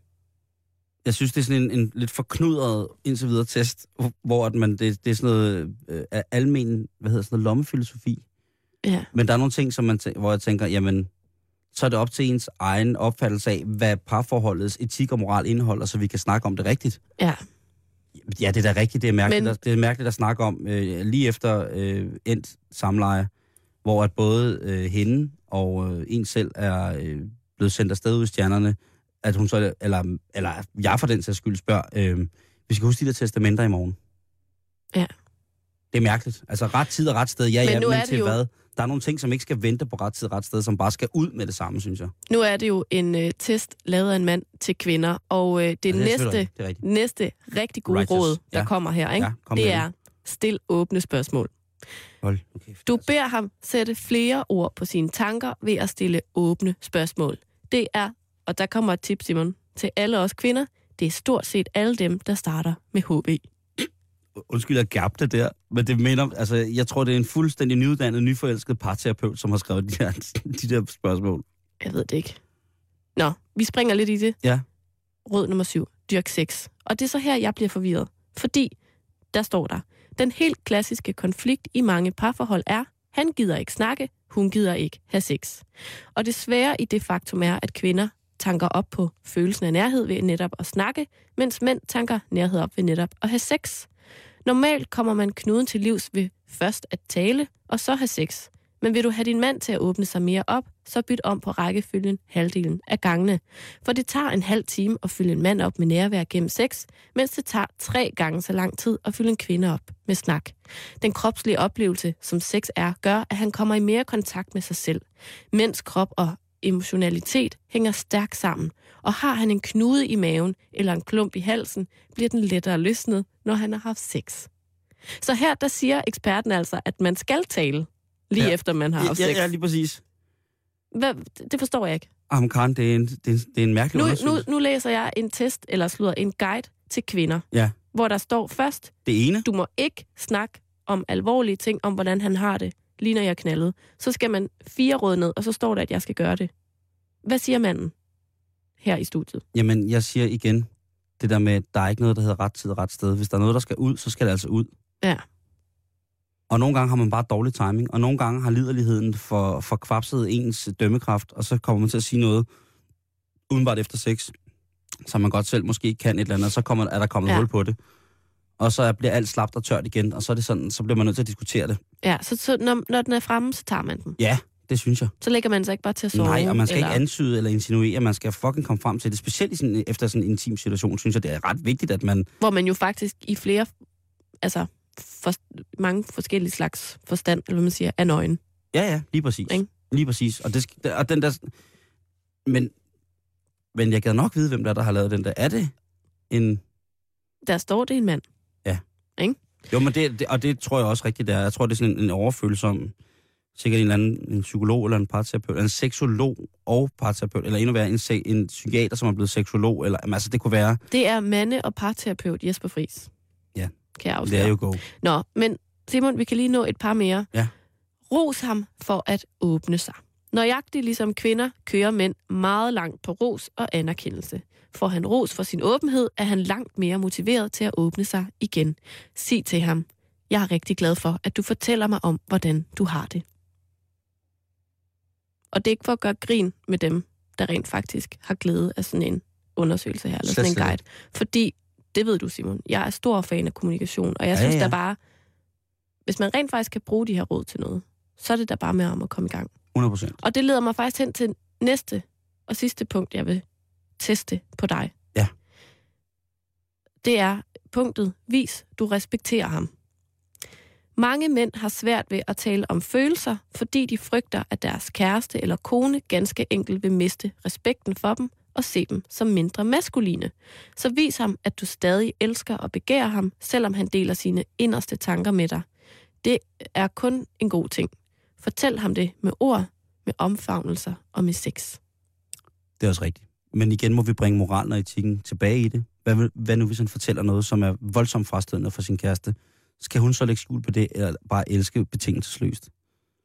B: jeg synes, det er sådan en, en lidt forknudret indtil videre test, hvor at man, det, det er sådan noget øh, af almen, hvad hedder sådan noget, lommefilosofi.
C: Ja.
B: Men der er nogle ting, som man tæ- hvor jeg tænker, jamen, så er det op til ens egen opfattelse af, hvad parforholdets etik og moral indeholder, så vi kan snakke om det rigtigt.
C: Ja.
B: Ja, det er da rigtigt. Det er mærkeligt,
C: Men-
B: Men... at, det er mærkeligt at snakke om øh, lige efter øh, endt samleje, hvor at både øh, hende og øh, en selv er øh, blevet sendt afsted ud i stjernerne, at hun så, eller, eller jeg for den sags skyld spørger, øh, vi skal huske de der testamenter i morgen.
C: Ja.
B: Det er mærkeligt. Altså ret tid og ret sted, ja,
C: Men
B: men ja,
C: nu er
B: men
C: det
B: til
C: jo-
B: jo... hvad? Der er nogle ting, som ikke skal vente på ret tid og ret sted, som bare skal ud med det samme, synes jeg.
C: Nu er det jo en øh, test lavet af en mand til kvinder, og øh, det,
B: Ja,
C: ja,
B: selvfølgelig
C: næste,
B: rigtigt. Det er rigtigt.
C: næste rigtig gode
B: Righteous.
C: råd, der
B: Ja.
C: kommer her, ikke?
B: Ja, kom
C: det
B: med
C: er stil åbne spørgsmål.
B: Hold nu kæft.
C: Du
B: altså.
C: beder ham sætte flere ord på sine tanker ved at stille åbne spørgsmål. Det er, og der kommer et tip, Simon, til alle os kvinder, det er stort set alle dem, der starter med HB.
B: Undskyld, jeg gabte det der, men det minder om, altså, jeg tror, det er en fuldstændig nyuddannet, nyforelsket parterapeut, som har skrevet de der, de der spørgsmål.
C: Jeg ved det ikke. Nå, vi springer lidt i det.
B: Ja.
C: Råd nummer syv. Dyrk sex. Og det er så her, jeg bliver forvirret. Fordi, der står der, den helt klassiske konflikt i mange parforhold er, han gider ikke snakke, hun gider ikke have sex. Og det svære i det faktum er, at kvinder tanker op på følelsen af nærhed ved netop at snakke, mens mænd tanker nærhed op ved netop at have sex. Normalt kommer man knuden til livs ved først at tale, og så have sex. Men vil du have din mand til at åbne sig mere op, så byt om på rækkefølgen halvdelen af gangene. For det tager en halv time at fylde en mand op med nærvær gennem sex, mens det tager tre gange så lang tid at fylde en kvinde op med snak. Den kropslige oplevelse, som sex er, gør, at han kommer i mere kontakt med sig selv. Mænds krop og emotionalitet hænger stærkt sammen, og har han en knude i maven eller en klump i halsen, bliver den lettere løsnet, når han har haft sex. Så her der siger eksperten altså, at man skal tale, lige ja.
B: Ja.
C: efter man har
B: Ja,
C: haft
B: ja,
C: sex.
B: ja, lige præcis.
C: Hvad, det forstår jeg ikke.
B: Jamen, Karen, det er en, det er en, det er en mærkelig
C: Nu, nu,
B: undersøgelse.
C: nu læser jeg en test, eller slutter en guide til kvinder,
B: Ja.
C: hvor der står først,
B: Det ene,
C: du må ikke snakke om alvorlige ting, om hvordan han har det, lige når jeg knaldede. Så skal man fire råd ned, og så står der, at jeg skal gøre det. Hvad siger manden her i studiet?
B: Jamen, jeg siger igen, det der med, der er ikke noget, der hedder ret tid og ret sted. Hvis der er noget, der skal ud, så skal det altså ud.
C: Ja.
B: Og nogle gange har man bare dårlig timing, og nogle gange har liderligheden for, for kvapset ens dømmekraft, og så kommer man til at sige noget udenbart efter sex, som man godt selv måske ikke kan et eller andet, og så kommer, er der kommet
C: Ja.
B: ja. hul på det. Og så er- bliver alt slapt og tørt igen, og så, er det sådan, så bliver man nødt til at diskutere det.
C: Ja, så, så når, når den er fremme, så tager man den.
B: Ja, det synes jeg.
C: Så lægger man sig ikke bare til at sove.
B: Nej, og man skal
C: eller...
B: ikke antyde eller insinuere, man skal fucking komme frem til det. Specielt i sådan, efter sådan en intim situation, synes jeg, det er ret vigtigt, at man
C: Hvor man jo faktisk i flere, altså for, mange forskellige slags forstand, eller hvad man siger, er nøgen.
B: Ja, ja, lige præcis.
C: Ikke?
B: Lige præcis. Og, det, sk- og den der... Men, men jeg gad nok vide, hvem der, er, der har lavet den der. Er det en...
C: Der står det en mand.
B: Jo, men det, det, og det tror jeg også rigtigt, der. Jeg tror, det er sådan en, en overfølsom... Sikkert en eller anden en psykolog eller en parterapeut, eller en seksolog og parterapeut, eller endnu værre en, se- en psykiater, som er blevet seksolog, eller jamen, altså det kunne være,
C: Det er mande- og parterapeut Jesper Friis.
B: Ja.
C: Kan jeg
B: det
C: afsløre.
B: er
C: Jo...
B: jo go.
C: Nå, men Simon, vi kan lige nå et par mere.
B: Ja.
C: Ros ham for at åbne sig. Nøjagtigt ligesom kvinder kører mænd meget langt på ros og anerkendelse. Får han ros for sin åbenhed, er han langt mere motiveret til at åbne sig igen. Sig til ham, jeg er rigtig glad for, at du fortæller mig om, hvordan du har det. Og det er ikke for at gøre grin med dem, der rent faktisk har glæde af sådan en undersøgelse her, eller
B: Slet,
C: sådan en
B: slet
C: guide. Fordi, det ved du Simon, jeg er stor fan af kommunikation, og jeg
B: Ja,
C: synes
B: ja.
C: da bare, hvis man rent faktisk kan bruge de her råd til noget, så er det da bare med om at komme i gang.
B: 100 procent.
C: Og det leder mig faktisk hen til næste og sidste punkt, jeg vil teste på dig.
B: Ja.
C: Det er punktet, vis du respekterer ham. Mange mænd har svært ved at tale om følelser, fordi de frygter, at deres kæreste eller kone ganske enkelt vil miste respekten for dem og se dem som mindre maskuline. Så vis ham, at du stadig elsker og begærer ham, selvom han deler sine inderste tanker med dig. Det er kun en god ting. Fortæl ham det med ord, med omfavnelser og med sex.
B: Det er også rigtigt. Men igen må vi bringe moralen og etikken tilbage i det. Hvad, vil- hvad nu, hvis han fortæller noget, som er voldsomt frastødende for sin kæreste? Skal hun så lægge skjul på det, eller bare elske betingelsesløst?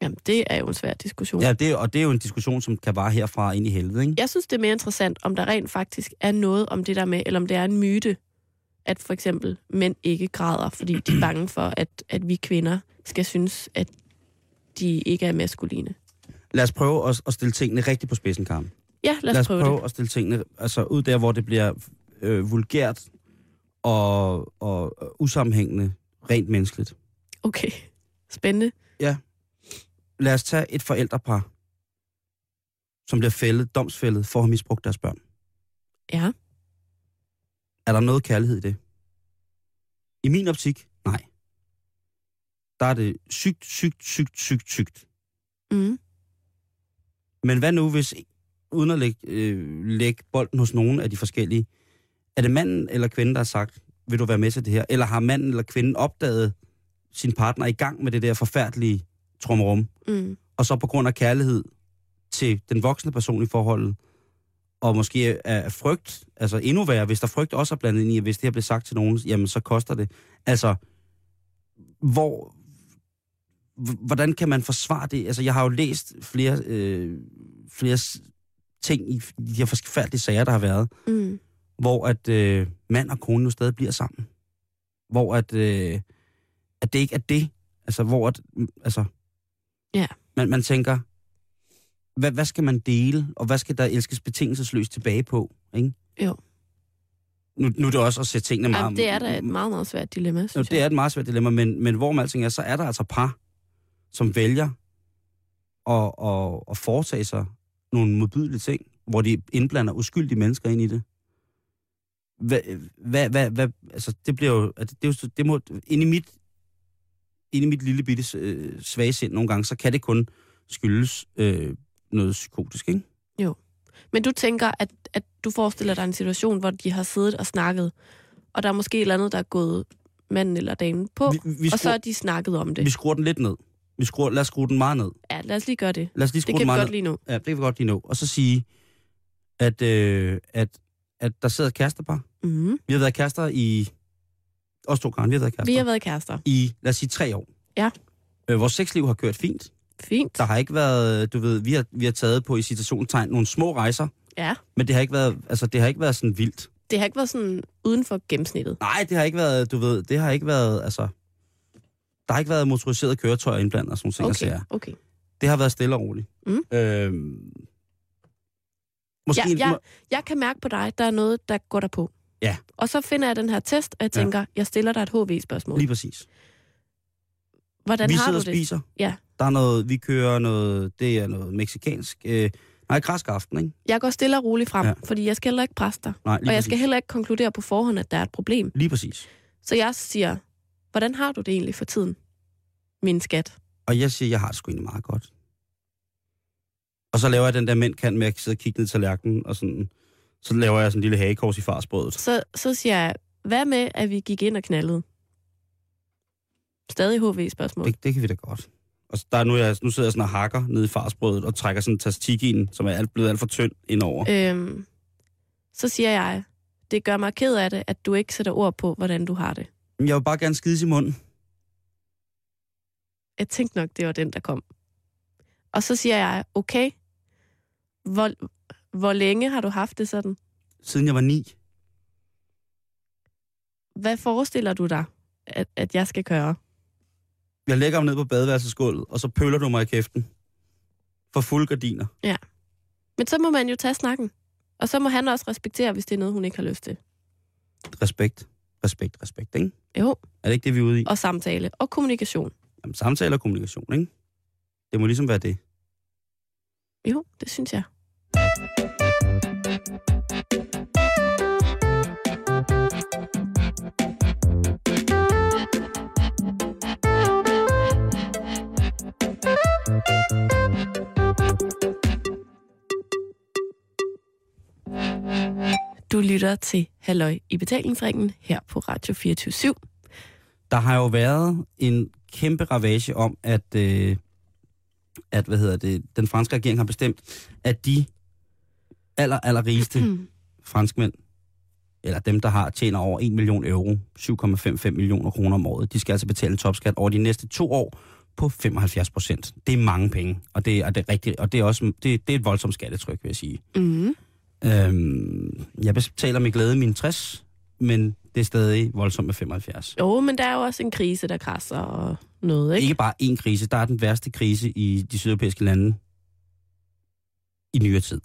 C: Jamen, det er jo en svær diskussion.
B: Ja, det, er- og det er jo en diskussion, som kan vare herfra ind i helvede, ikke?
C: Jeg synes, det er mere interessant, om der rent faktisk er noget om det der med, eller om det er en myte, at for eksempel mænd ikke græder, fordi de er bange for, at, at vi kvinder skal synes, at de ikke er maskuline.
B: Lad os prøve at, at stille tingene rigtigt på spidsen, Karen.
C: Ja, lad os,
B: Lad os
C: prøve,
B: prøve,
C: det.
B: at stille tingene altså, ud der, hvor det bliver øh, vulgært og, og øh, usammenhængende, rent menneskeligt.
C: Okay, spændende.
B: Lad os tage et forældrepar, som bliver fældet, domsfældet, for at have misbrugt deres børn.
C: Ja,
B: Er der noget kærlighed i det? I min optik, nej. Der er det sygt, sygt, sygt, sygt, sygt.
C: mm.
B: Men hvad nu, hvis, uden at lægge, øh, lægge bolden hos nogen af de forskellige, er det manden eller kvinden, der har sagt, vil du være med til det her? Eller har manden eller kvinden opdaget sin partner i gang med det der forfærdelige trommerum,
C: Mm.
B: og så på grund af kærlighed til den voksne person i forholdet, og måske af frygt, altså endnu værre, hvis der frygt også er blandet ind i, at hvis det her bliver sagt til nogen, jamen så koster det. Altså, hvor, h- hvordan kan man forsvare det? Altså, jeg har jo læst flere, øh, flere s- ting i f- de her forfærdelige sager, der har været,
C: Mm.
B: hvor at øh, mand og kone jo stadig bliver sammen. Hvor at, øh, at det ikke er det. Altså, hvor at, mm, altså,
C: Ja.
B: man, man tænker, hvad, hvad skal man dele, og hvad skal der elskes betingelsesløst tilbage på? Ikke?
C: Jo.
B: Nu, nu er det også at sætte tingene meget...
C: Jamen, det er da et meget, meget svært dilemma,
B: jo,
C: synes
B: det er et meget svært dilemma, men, men hvor man alting er, så er der altså par, som vælger at, at, at foretage sig nogle modbydelige ting, hvor de indblander uskyldige mennesker ind i det. Hvad, hvad, hvad, hvad altså det bliver jo, at det, det, er jo så- det må, ind i mit, ind i mit lille bitte øh, svage sind nogle gange, så kan det kun skyldes øh, noget psykotisk, ikke?
C: Men du tænker, at, at du forestiller dig en situation, hvor de har siddet og snakket, og der er måske et eller andet, der er gået manden eller damen på,
B: Vi,
C: vi,
B: vi,
C: og så
B: skruer,
C: har de snakket om det.
B: vi skruer den lidt ned. Vi skruer, lad os skrue den meget ned.
C: Ja, lad os lige gøre det.
B: Lad os lige skrue
C: Det
B: den
C: kan vi
B: meget ned.
C: godt lige nu.
B: Ja, det kan vi godt lige nå. Og så sige, at, øh, at, at der sidder et kærestepar.
C: Mm-hmm.
B: Vi har været kærester i... Os to gange, vi har været kærester.
C: Vi har været kærester.
B: I, lad os sige, tre år.
C: Ja.
B: Øh, vores sexliv har kørt fint.
C: Fint.
B: Der har ikke været... Du ved, vi har, vi har taget på i citationstegn nogle små rejser.
C: Ja.
B: Men det har ikke været, altså, det har ikke været sådan vildt.
C: Det har ikke været sådan uden for gennemsnittet.
B: Nej, det har ikke været... Du ved, det har ikke været... Altså, der har ikke været motoriseret køretøjer indblandet og sådan nogle ting.
C: Okay,
B: Okay.
C: okay.
B: Det har været stille og roligt.
C: Mm.
B: Øhm, måske,
C: Ja, ja. Jeg kan mærke på dig, der er noget, der går dig på.
B: Ja.
C: Og så finder jeg den her test, og jeg
B: Ja.
C: tænker, ja. jeg stiller dig et HV-spørgsmål.
B: Lige præcis.
C: Hvordan
B: vi
C: har
B: sidder
C: du
B: og
C: det?
B: spiser.
C: Ja.
B: Der er noget, vi kører noget, det er noget meksikansk. Øh, nej, græsk aften, ikke?
C: Jeg går stille og roligt frem,
B: Ja.
C: ja. fordi jeg skal heller ikke presse dig.
B: Nej, lige
C: Og jeg
B: præcis.
C: skal heller ikke konkludere på forhånd, at der er et problem.
B: Lige præcis.
C: Så jeg siger, hvordan har du det egentlig for tiden, min skat?
B: Og jeg siger, jeg har det sgu egentlig meget godt. Og så laver jeg den der mænd kan med at sidde og kigge ned til tallerkenen, og sådan, så laver jeg sådan en lille hagekors i farsbrødet.
C: Så, så siger jeg, hvad med, at vi gik ind og knaldede? Stadig HV-spørgsmål.
B: Det, det kan vi da godt. Og så der er nu, jeg, nu sidder jeg sådan og hakker ned i farsbrødet og trækker sådan en tastikien, som er alt, blevet alt for tynd indover.
C: Øhm, så siger jeg, det gør mig ked af det, at du ikke sætter ord på, hvordan du har det.
B: Øh. Jeg vil bare gerne skide i munden.
C: Jeg tænkte nok, det var den, der kom. Og så siger jeg, okay, Hvor, hvor længe har du haft det sådan?
B: Siden jeg var ni.
C: Hvad forestiller du dig, at, at jeg skal gøre?
B: Jeg lægger ham ned på badeværelsesgulvet, og så pøller du mig i kæften. For fulde gardiner.
C: Men så må man jo tage snakken. Og så må han også respektere, hvis det er noget, hun ikke har lyst til.
B: Respekt. Respekt, respekt, ikke?
C: Jo,
B: Er det ikke det, vi er ude i?
C: og samtale og kommunikation.
B: Jamen, samtale og kommunikation, ikke? Det må ligesom være det.
C: Jo, det synes jeg. Du lytter til Halløj i betalingsringen her på Radio 24
B: der har jo været en kæmpe ravage om, at, øh, at hvad hedder det, den franske regering har bestemt, at de aller, aller rigeste
C: Mm.
B: franskmænd, eller dem, der har tjener over 1 million euro, 7,55 millioner kroner om året, de skal altså betale en topskat over de næste to år på 75 procent. Det er mange penge, og det, er, det er rigtigt, og det er også det, det er et voldsomt skattetryk, vil jeg sige.
C: Mm.
B: Øhm, jeg betaler med glæde min 60, men det er stadig voldsomt med 75.
C: Jo, men der er jo også en krise, der krasser og noget, ikke?
B: Ikke bare én krise, der er den værste krise i de sydeuropæiske lande i nyere tid.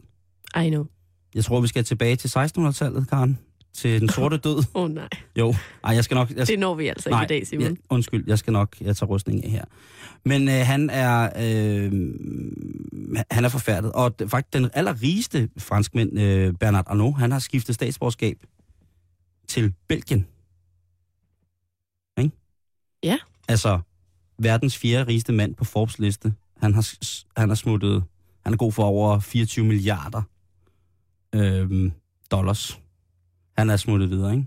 C: I know.
B: Jeg tror, vi skal tilbage til 1600-tallet, Karen. Til den sorte død.
C: Åh oh, nej,
B: Ej, jeg skal nok... Jeg,
C: det når vi altså
B: nej,
C: ikke i dag, Simon.
B: ja, undskyld, jeg skal nok... Jeg tager rustningen af her. Men øh, han er... Øh, han er forfærdet. Og d- faktisk den allerrigeste franskmand, øh, Bernard Arnault, han har skiftet statsborgerskab til Belgien. Ikke?
C: Ja.
B: Altså, verdens fjerde rigeste mand på Forbes liste. Han har, s- han har smuttet... Han er god for over 24 milliarder øhm, dollars. Han er smuttet videre, ikke?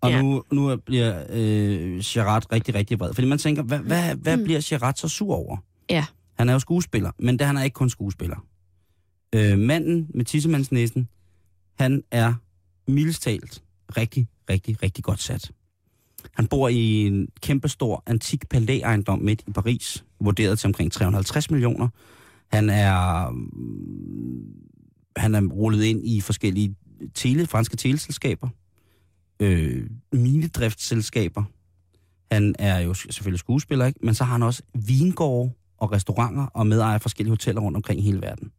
B: Og
C: Ja.
B: ja. nu, nu er- bliver øh, Gerard rigtig, rigtig vred. Fordi man tænker, hvad, hvad, hvad
C: Mm.
B: mm. bliver Gerard så sur over?
C: Ja.
B: Han er jo skuespiller, men det, han er ikke kun skuespiller. Øh, manden med tissemandsnæsen, han er mildest talt rigtig, rigtig, rigtig godt sat. Han bor i en kæmpestor antik palæ-ejendom midt i Paris, vurderet til omkring 350 millioner. Han er, mm, han er rullet ind i forskellige tele, franske teleselskaber, øh, minedriftsselskaber. Han er jo s- selvfølgelig skuespiller, ikke? men så har han også vingårde og restauranter og medejer af forskellige hoteller rundt omkring i hele verden.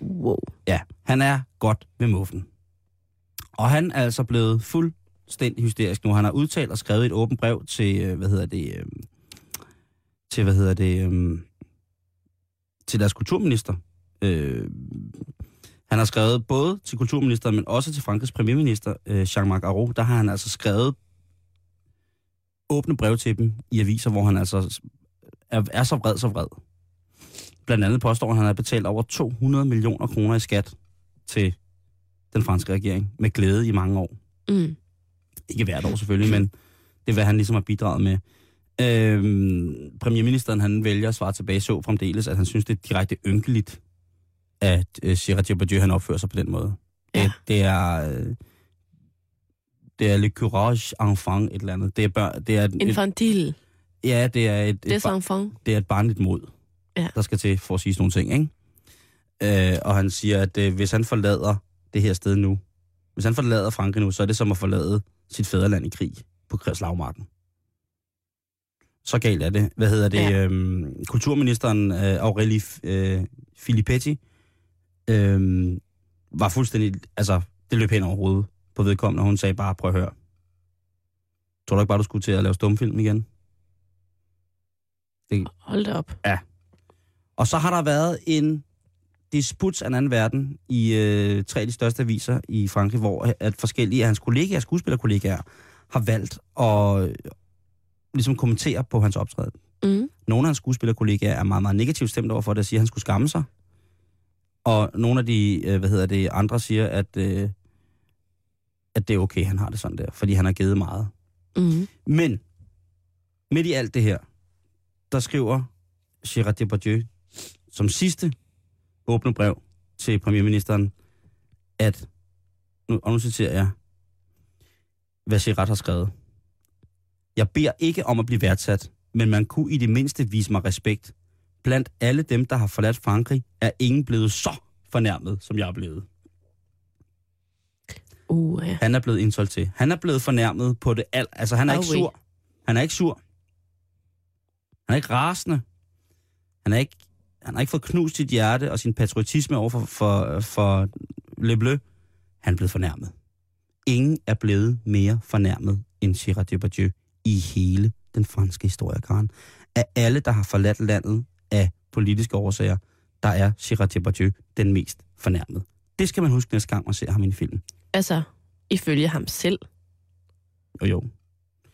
C: Wow.
B: Ja, han er godt ved muffen. Og han er altså blevet fuldstændig hysterisk nu. Han har udtalt og skrevet et åbent brev til, øh, hvad hedder det, øh, til, hvad hedder det, øh, til deres kulturminister. Øh, han har skrevet både til kulturministeren, men også til Frankrigs premierminister, øh, Jean-Marc Ayrault. Der har han altså skrevet åbne brev til dem i aviser, hvor han altså er, er så vred, så vred. Blandt andet påstår han, at han har betalt over 200 millioner kroner i skat til den franske regering med glæde i mange år.
C: Mm.
B: Ikke hvert år selvfølgelig, men det er, hvad han ligesom har bidraget med. Øhm, premierministeren han vælger at svare tilbage så fremdeles, at han synes, det er direkte ynkeligt, at øh, Gérard Depardieu han opfører sig på den måde.
C: Ja.
B: Det, det er... Øh, det er le courage enfant et eller andet. Det er, børn, det er et,
C: Infantil.
B: ja, det er et, et, bar-
C: Desenfant.
B: det er et barnligt mod,
C: Ja.
B: der skal til for at sige sådan nogle ting, ikke? Øh, og han siger, at øh, hvis han forlader det her sted nu, hvis han forlader Frankrig nu, så er det som at forlade sit fædreland i krig på slagmarken. Så galt er det. Hvad hedder det?
C: Ja.
B: Ja. Øhm, kulturministeren øh, Aurelie øh, Filippetti øh, var fuldstændig... Altså, det løb hen over hovedet på vedkommende, og hun sagde bare, prøv at høre. Tror du ikke bare, du skulle til at lave stumfilm igen?
C: Hold da op.
B: Og så har der været en disput af en anden verden i øh, tre af de største aviser i Frankrig, hvor øh, at forskellige af hans kollegaer, skuespillerkollegaer, har valgt at øh, ligesom kommentere på hans optræden.
C: Mm.
B: Nogle af hans skuespillerkollegaer er meget, meget negativt stemt over for det, og siger, at han skulle skamme sig. Og nogle af de, øh, hvad hedder det, andre siger, at, øh, at det er okay, han har det sådan der, fordi han har givet meget.
C: Mm.
B: Men midt i alt det her, der skriver Gérard Depardieu som sidste åbne brev til premierministeren, at, nu, og nu citerer jeg, hvad Gérard har skrevet. Jeg beder ikke om at blive værdsat, men man kunne i det mindste vise mig respekt. Blandt alle dem, der har forladt Frankrig, er ingen blevet så fornærmet, som jeg er blevet.
C: Uh, ja.
B: Han er blevet insolgt til. Han er blevet fornærmet på det alt. Altså, han er
C: Au
B: ikke
C: weh.
B: sur. Han er ikke sur. Han er ikke rasende. Han er ikke, han har ikke fået knust sit hjerte og sin patriotisme over for, for, for Le Bleu. Han er blevet fornærmet. Ingen er blevet mere fornærmet end Gérard Depardieu i hele den franske historie, Karen. Af alle, der har forladt landet af politiske årsager, der er Gérard Depardieu den mest fornærmet. Det skal man huske næste gang, man ser ham i en film.
C: Altså, ifølge ham selv.
B: Jo, jo.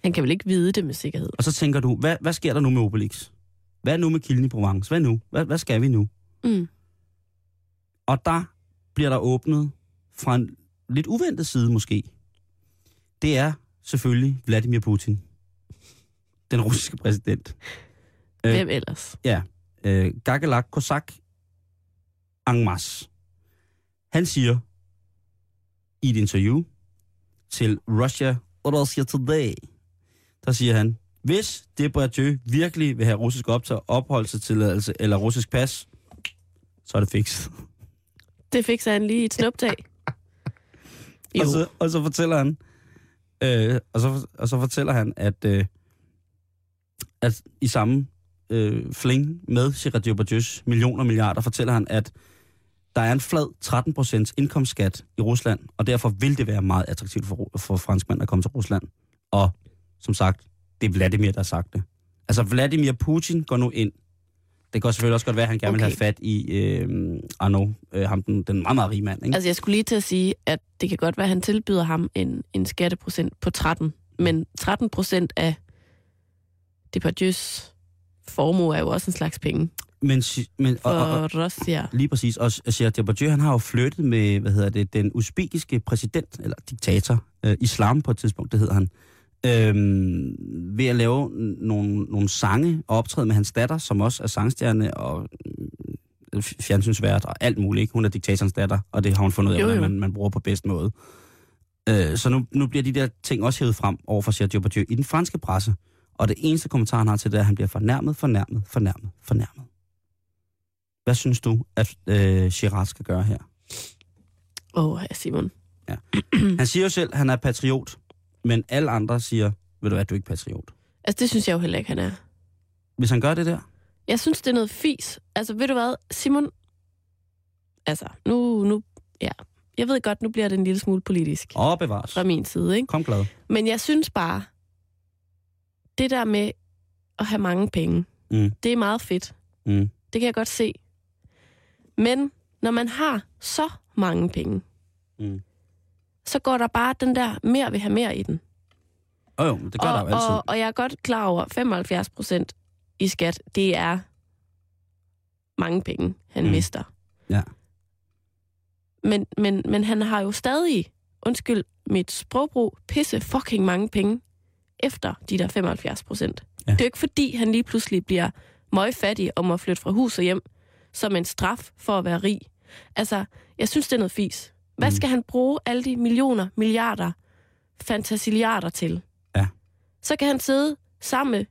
C: Han kan vel ikke vide det med sikkerhed.
B: Og så tænker du, hvad, hvad sker der nu med Obelix? Hvad er nu med Kilden i Provence? Hvad nu? Hvad, hvad skal vi nu?
C: Mm.
B: Og der bliver der åbnet fra en lidt uventet side måske. Det er selvfølgelig Vladimir Putin. Den russiske præsident. Øh.
C: Hvem ellers?
B: Øh, Gagalak Kosak en masse. Han siger i et interview til Russia, Russia Today, der siger han, hvis Debradieu virkelig vil have russisk optag, opholdstilladelse eller russisk pas, så er det fikset.
C: Det fik han lige i et snuptag.
B: Og
C: Jo,
B: så, og så fortæller han, øh, og, så, og så fortæller han, at, øh, at i samme øh, fling med Gerard Depardieu's millioner og milliarder, fortæller han, at der er en flad 13% indkomstskat i Rusland, og derfor vil det være meget attraktivt for, ru- for franskmænd at komme til Rusland. Og som sagt, det er Vladimir, der har sagt det. Altså Vladimir Putin går nu ind. Det kan selvfølgelig også godt være, at han gerne okay. vil
C: Okay.
B: have fat i øh, Arno, øh, ham den, den meget, meget rige mand. Ikke?
C: altså jeg skulle lige til at sige, at det kan godt være, at han tilbyder ham en, en skatteprocent på 13. Men 13 procent af Depardieu's formue er jo også en slags penge
B: Men, si- men,
C: for og, og, Russia.
B: Lige præcis. Og Gérard Depardieu, han har jo flyttet med, hvad hedder det, den usbekiske præsident, eller diktator, øh, islam på et tidspunkt, det hedder han, øhm, ved at lave n- nogle, nogle sange og optræde med hans datter, som også er sangstjerne og øh, f- fjernsynsvært og alt muligt. Ikke? Hun er diktatorens datter, og det har hun fundet ud af,
C: Jo,
B: hvordan
C: jo.
B: man, man bruger på bedst måde. Øh, så nu, nu bliver de der ting også hævet frem over for Gérard Depardieu i den franske presse. Og det eneste kommentar, han har til det, er, at han bliver fornærmet, fornærmet, fornærmet, fornærmet. Hvad synes du, at øh, Girard skal gøre her?
C: Åh, oh, Simon.
B: Han siger jo selv, at han er patriot, men alle andre siger, ved du hvad, du er ikke patriot.
C: Altså det synes jeg jo heller ikke, han er.
B: Hvis han gør det der,
C: Jeg synes, det er noget fis. Altså, ved du hvad, Simon... Altså, nu... nu ja. Jeg ved godt, nu bliver det en lille smule politisk
B: åh bevares.
C: fra min side, ikke?
B: Kom glad.
C: Men jeg synes bare, det der med at have mange penge,
B: Mm.
C: det er meget fedt.
B: Mm.
C: Det kan jeg godt se. Men når man har så mange penge,
B: Mm.
C: så går der bare den der, mere vil have mere i den.
B: Åh jo, men det gør
C: og,
B: der jo altid.
C: Og, og jeg er godt klar over, 75 procent i skat, det er mange penge, han
B: Mm.
C: mm. mister.
B: Ja.
C: Men, men, men han har jo stadig, undskyld mit sprogbrug, pisse fucking mange penge efter de der 75 procent.
B: Ja.
C: Ja. Det er jo ikke fordi, han lige pludselig bliver møgfattig og må flytte fra hus og hjem som en straf for at være rig. Altså, jeg synes, det er noget fis. Hvad
B: Mm.
C: skal han bruge alle de millioner, milliarder, fantasiliarder til?
B: Ja.
C: Så kan han sidde sammen med,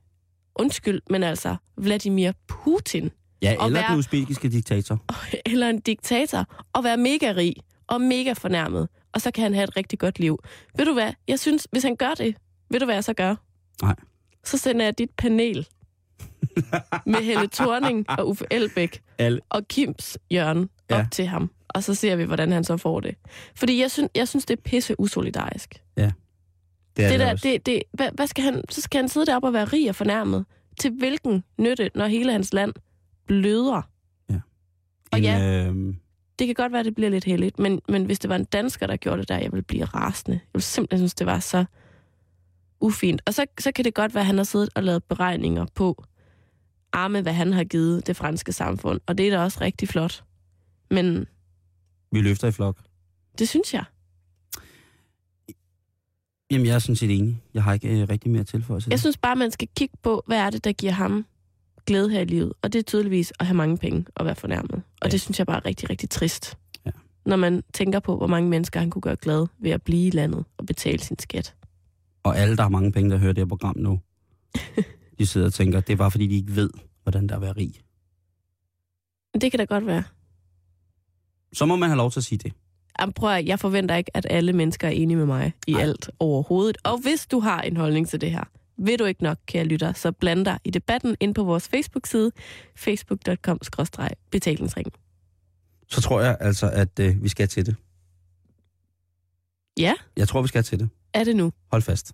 C: undskyld, men altså Vladimir Putin,
B: Ja,
C: og
B: eller
C: være-
B: den usbekiske diktator.
C: eller en diktator, og være mega rig og mega fornærmet, og så kan han have et rigtig godt liv. Ved du hvad? Jeg synes, hvis han gør det, ved du hvad jeg så gør?
B: Nej.
C: Så sender jeg dit panel med Helle Thorning og Uffe Elbæk
B: Alle.
C: og Kims Jørgen op
B: Ja.
C: til ham. Og så ser vi, hvordan han så får det. Fordi jeg synes, jeg synes det er pisse usolidarisk.
B: Det er
C: det
B: det,
C: der,
B: også.
C: det, det, hvad, hvad skal han, så skal han sidde deroppe og være rig og fornærmet. Til hvilken nytte, når hele hans land bløder? og
B: En,
C: ja.
B: øhm,
C: Det kan godt være, det bliver lidt heldigt, men, men hvis det var en dansker, der gjorde det der, jeg ville blive rasende. Jeg ville simpelthen synes, det var så ufint. Og så, så kan det godt være, at han har siddet og lavet beregninger på arme, hvad han har givet det franske samfund. Og det er da også rigtig flot. Men
B: vi løfter i flok.
C: det synes jeg.
B: Jamen, jeg er sådan set enig. Jeg har ikke øh, rigtig mere at tilføje til
C: Jeg
B: det.
C: synes bare, man skal kigge på, hvad er det, der giver ham glæde her i livet. Og det er tydeligvis at have mange penge og være fornærmet. Og
B: Ja.
C: ja. det synes jeg bare er rigtig, rigtig trist.
B: Ja.
C: Når man tænker på, hvor mange mennesker han kunne gøre glade ved at blive i landet og betale sin skat.
B: Og alle, der har mange penge, der hører det her program nu, de sidder og tænker, det er bare fordi, de ikke ved, hvordan der er at være rig.
C: Men det kan da godt være.
B: Så må man have lov til at sige det.
C: Jamen, prøv at, jeg forventer ikke, at alle mennesker er enige med mig i
B: Nej.
C: Ej. alt overhovedet. Og hvis du har en holdning til det her, ved du ikke nok, kære lytter, så bland dig i debatten ind på vores Facebook-side, facebook.com-betalingsring.
B: Så tror jeg altså, at øh, vi skal til det.
C: Ja,
B: Jeg tror, vi skal til det.
C: er det nu?
B: Hold fast.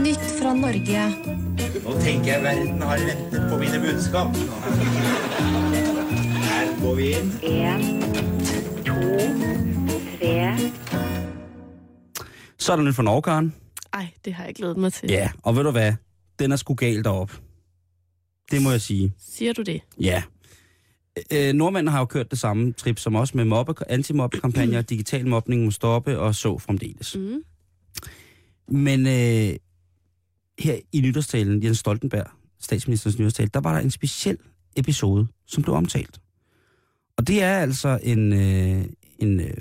D: Nytt fra Norge.
E: Nå tenker jeg verden har ventet på mine budskap. Her går vi inn.
F: En, to, tre,
B: Så er der nyt fra Norge, Karen.
C: Ej, det har jeg glædet mig til.
B: Ja, og ved du hvad? Den er sgu galt derop. Det må jeg sige.
C: Siger du det?
B: Ja. Øh, nordmændene har jo kørt det samme trip som os med mobbe, antimobbekampagner, digital mobning må stoppe og så fremdeles.
C: Mm.
B: Men øh, her i nytårstalen, Jens Stoltenberg, statsministerens nytårstale, der var der en speciel episode, som blev omtalt. Og det er altså en, øh, en, øh,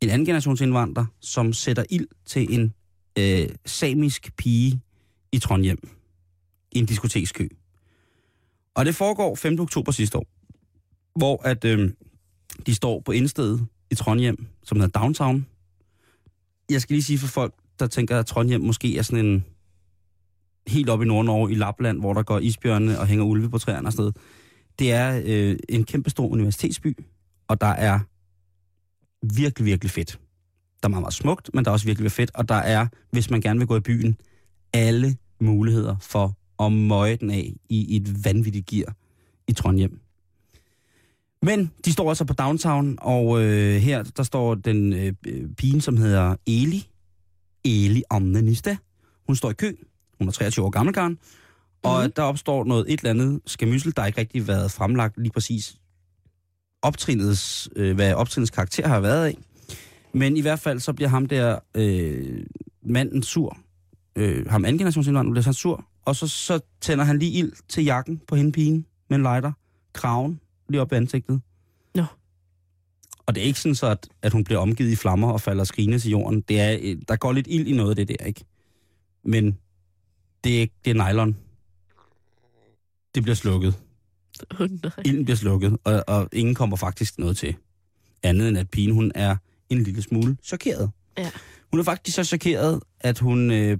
B: en anden generations indvandrer, som sætter ild til en øh, samisk pige i Trondheim i en diskotekskø. Og det foregår 5. oktober sidste år, hvor at øh, de står på indstedet i Trondheim, som hedder Downtown. Jeg skal lige sige for folk, der tænker, at Trondheim måske er sådan en helt op i Nordnorge, i Lapland, hvor der går isbjørne og hænger ulve på træerne og sådan noget. Det er øh, en kæmpe stor universitetsby, og der er virkelig, virkelig fedt. Der er meget, meget smukt, men der er også virkelig fedt, og der er, hvis man gerne vil gå i byen, alle muligheder for at møje den af i et vanvittigt gear i Trondheim. Men de står altså på downtown, og øh, her der står den øh, øh, pigen, som hedder Eli, Eli Amnanista. Hun står i kø. Hun er 23 år gammel, Karen. Og mm. der opstår noget et eller andet skamyssel, der ikke rigtig været fremlagt lige præcis optrinets, øh, hvad optrinets karakter har været af. Men i hvert fald så bliver ham der øh, manden sur. Øh, ham anden generationsindvandrer bliver så sur. Og så, så tænder han lige ild til jakken på hende pigen med en lighter. Kraven lige op i ansigtet.
C: Nå.
B: Og det er ikke sådan så, at, at hun bliver omgivet i flammer og falder skrigende til jorden. Det er, øh, der går lidt ild i noget af det der, ikke? Men det er, ikke- det er nylon. Det bliver slukket.
C: Oh, nej.
B: Ilden bliver slukket, og, og ingen kommer faktisk noget til. Andet end at pigen, hun er en lille smule chokeret.
C: Ja.
B: Hun er faktisk så chokeret, at hun øh,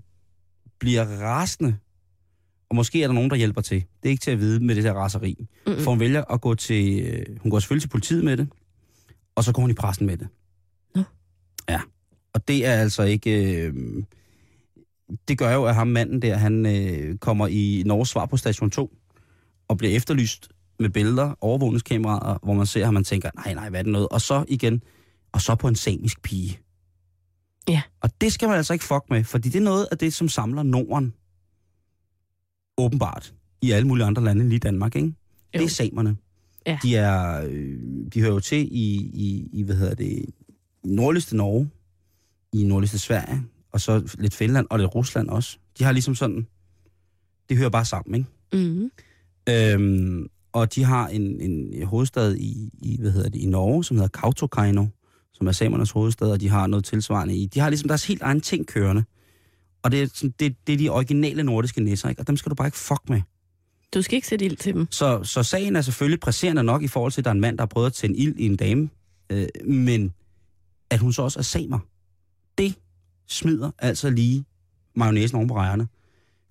B: bliver rasende. Og måske er der nogen, der hjælper til. Det er ikke til at vide med det der raseri.
C: Mm-mm.
B: For hun vælger at gå til... Øh, hun går selvfølgelig til politiet med det, og så går hun i pressen med det.
C: Nå.
B: Ja. Og det er altså ikke... Øh, det gør jo, at ham manden der, han øh, kommer i Norges svar på station 2, og bliver efterlyst med billeder, overvågningskameraer, hvor man ser ham, man tænker, nej, nej, hvad er det noget? Og så igen, og så på en samisk pige.
C: Ja.
B: Og det skal man altså ikke fuck med, fordi det er noget af det, som samler Norden. Åbenbart. I alle mulige andre lande, end lige Danmark, ikke? Jo. Det er samerne.
C: Ja.
B: De, er, øh, de hører jo til i, i, i hvad hedder det, i nordligste Norge, i nordligste Sverige, og så lidt Finland og lidt Rusland også. De har ligesom sådan, det hører bare sammen, ikke?
C: Mm.
B: Øhm, og de har en, en hovedstad i, i, hvad hedder det, i Norge, som hedder Kautokeino, som er samernes hovedstad, og de har noget tilsvarende i. De har ligesom deres helt egen ting kørende. Og det er, sådan, det, det er de originale nordiske nisser, ikke? og dem skal du bare ikke fuck med.
C: Du skal ikke sætte ild til dem.
B: Så, så sagen er selvfølgelig presserende nok i forhold til, at der er en mand, der har prøvet at tænde ild i en dame, øh, men at hun så også er samer, det smider altså lige mayonnaisen oven på rejerne.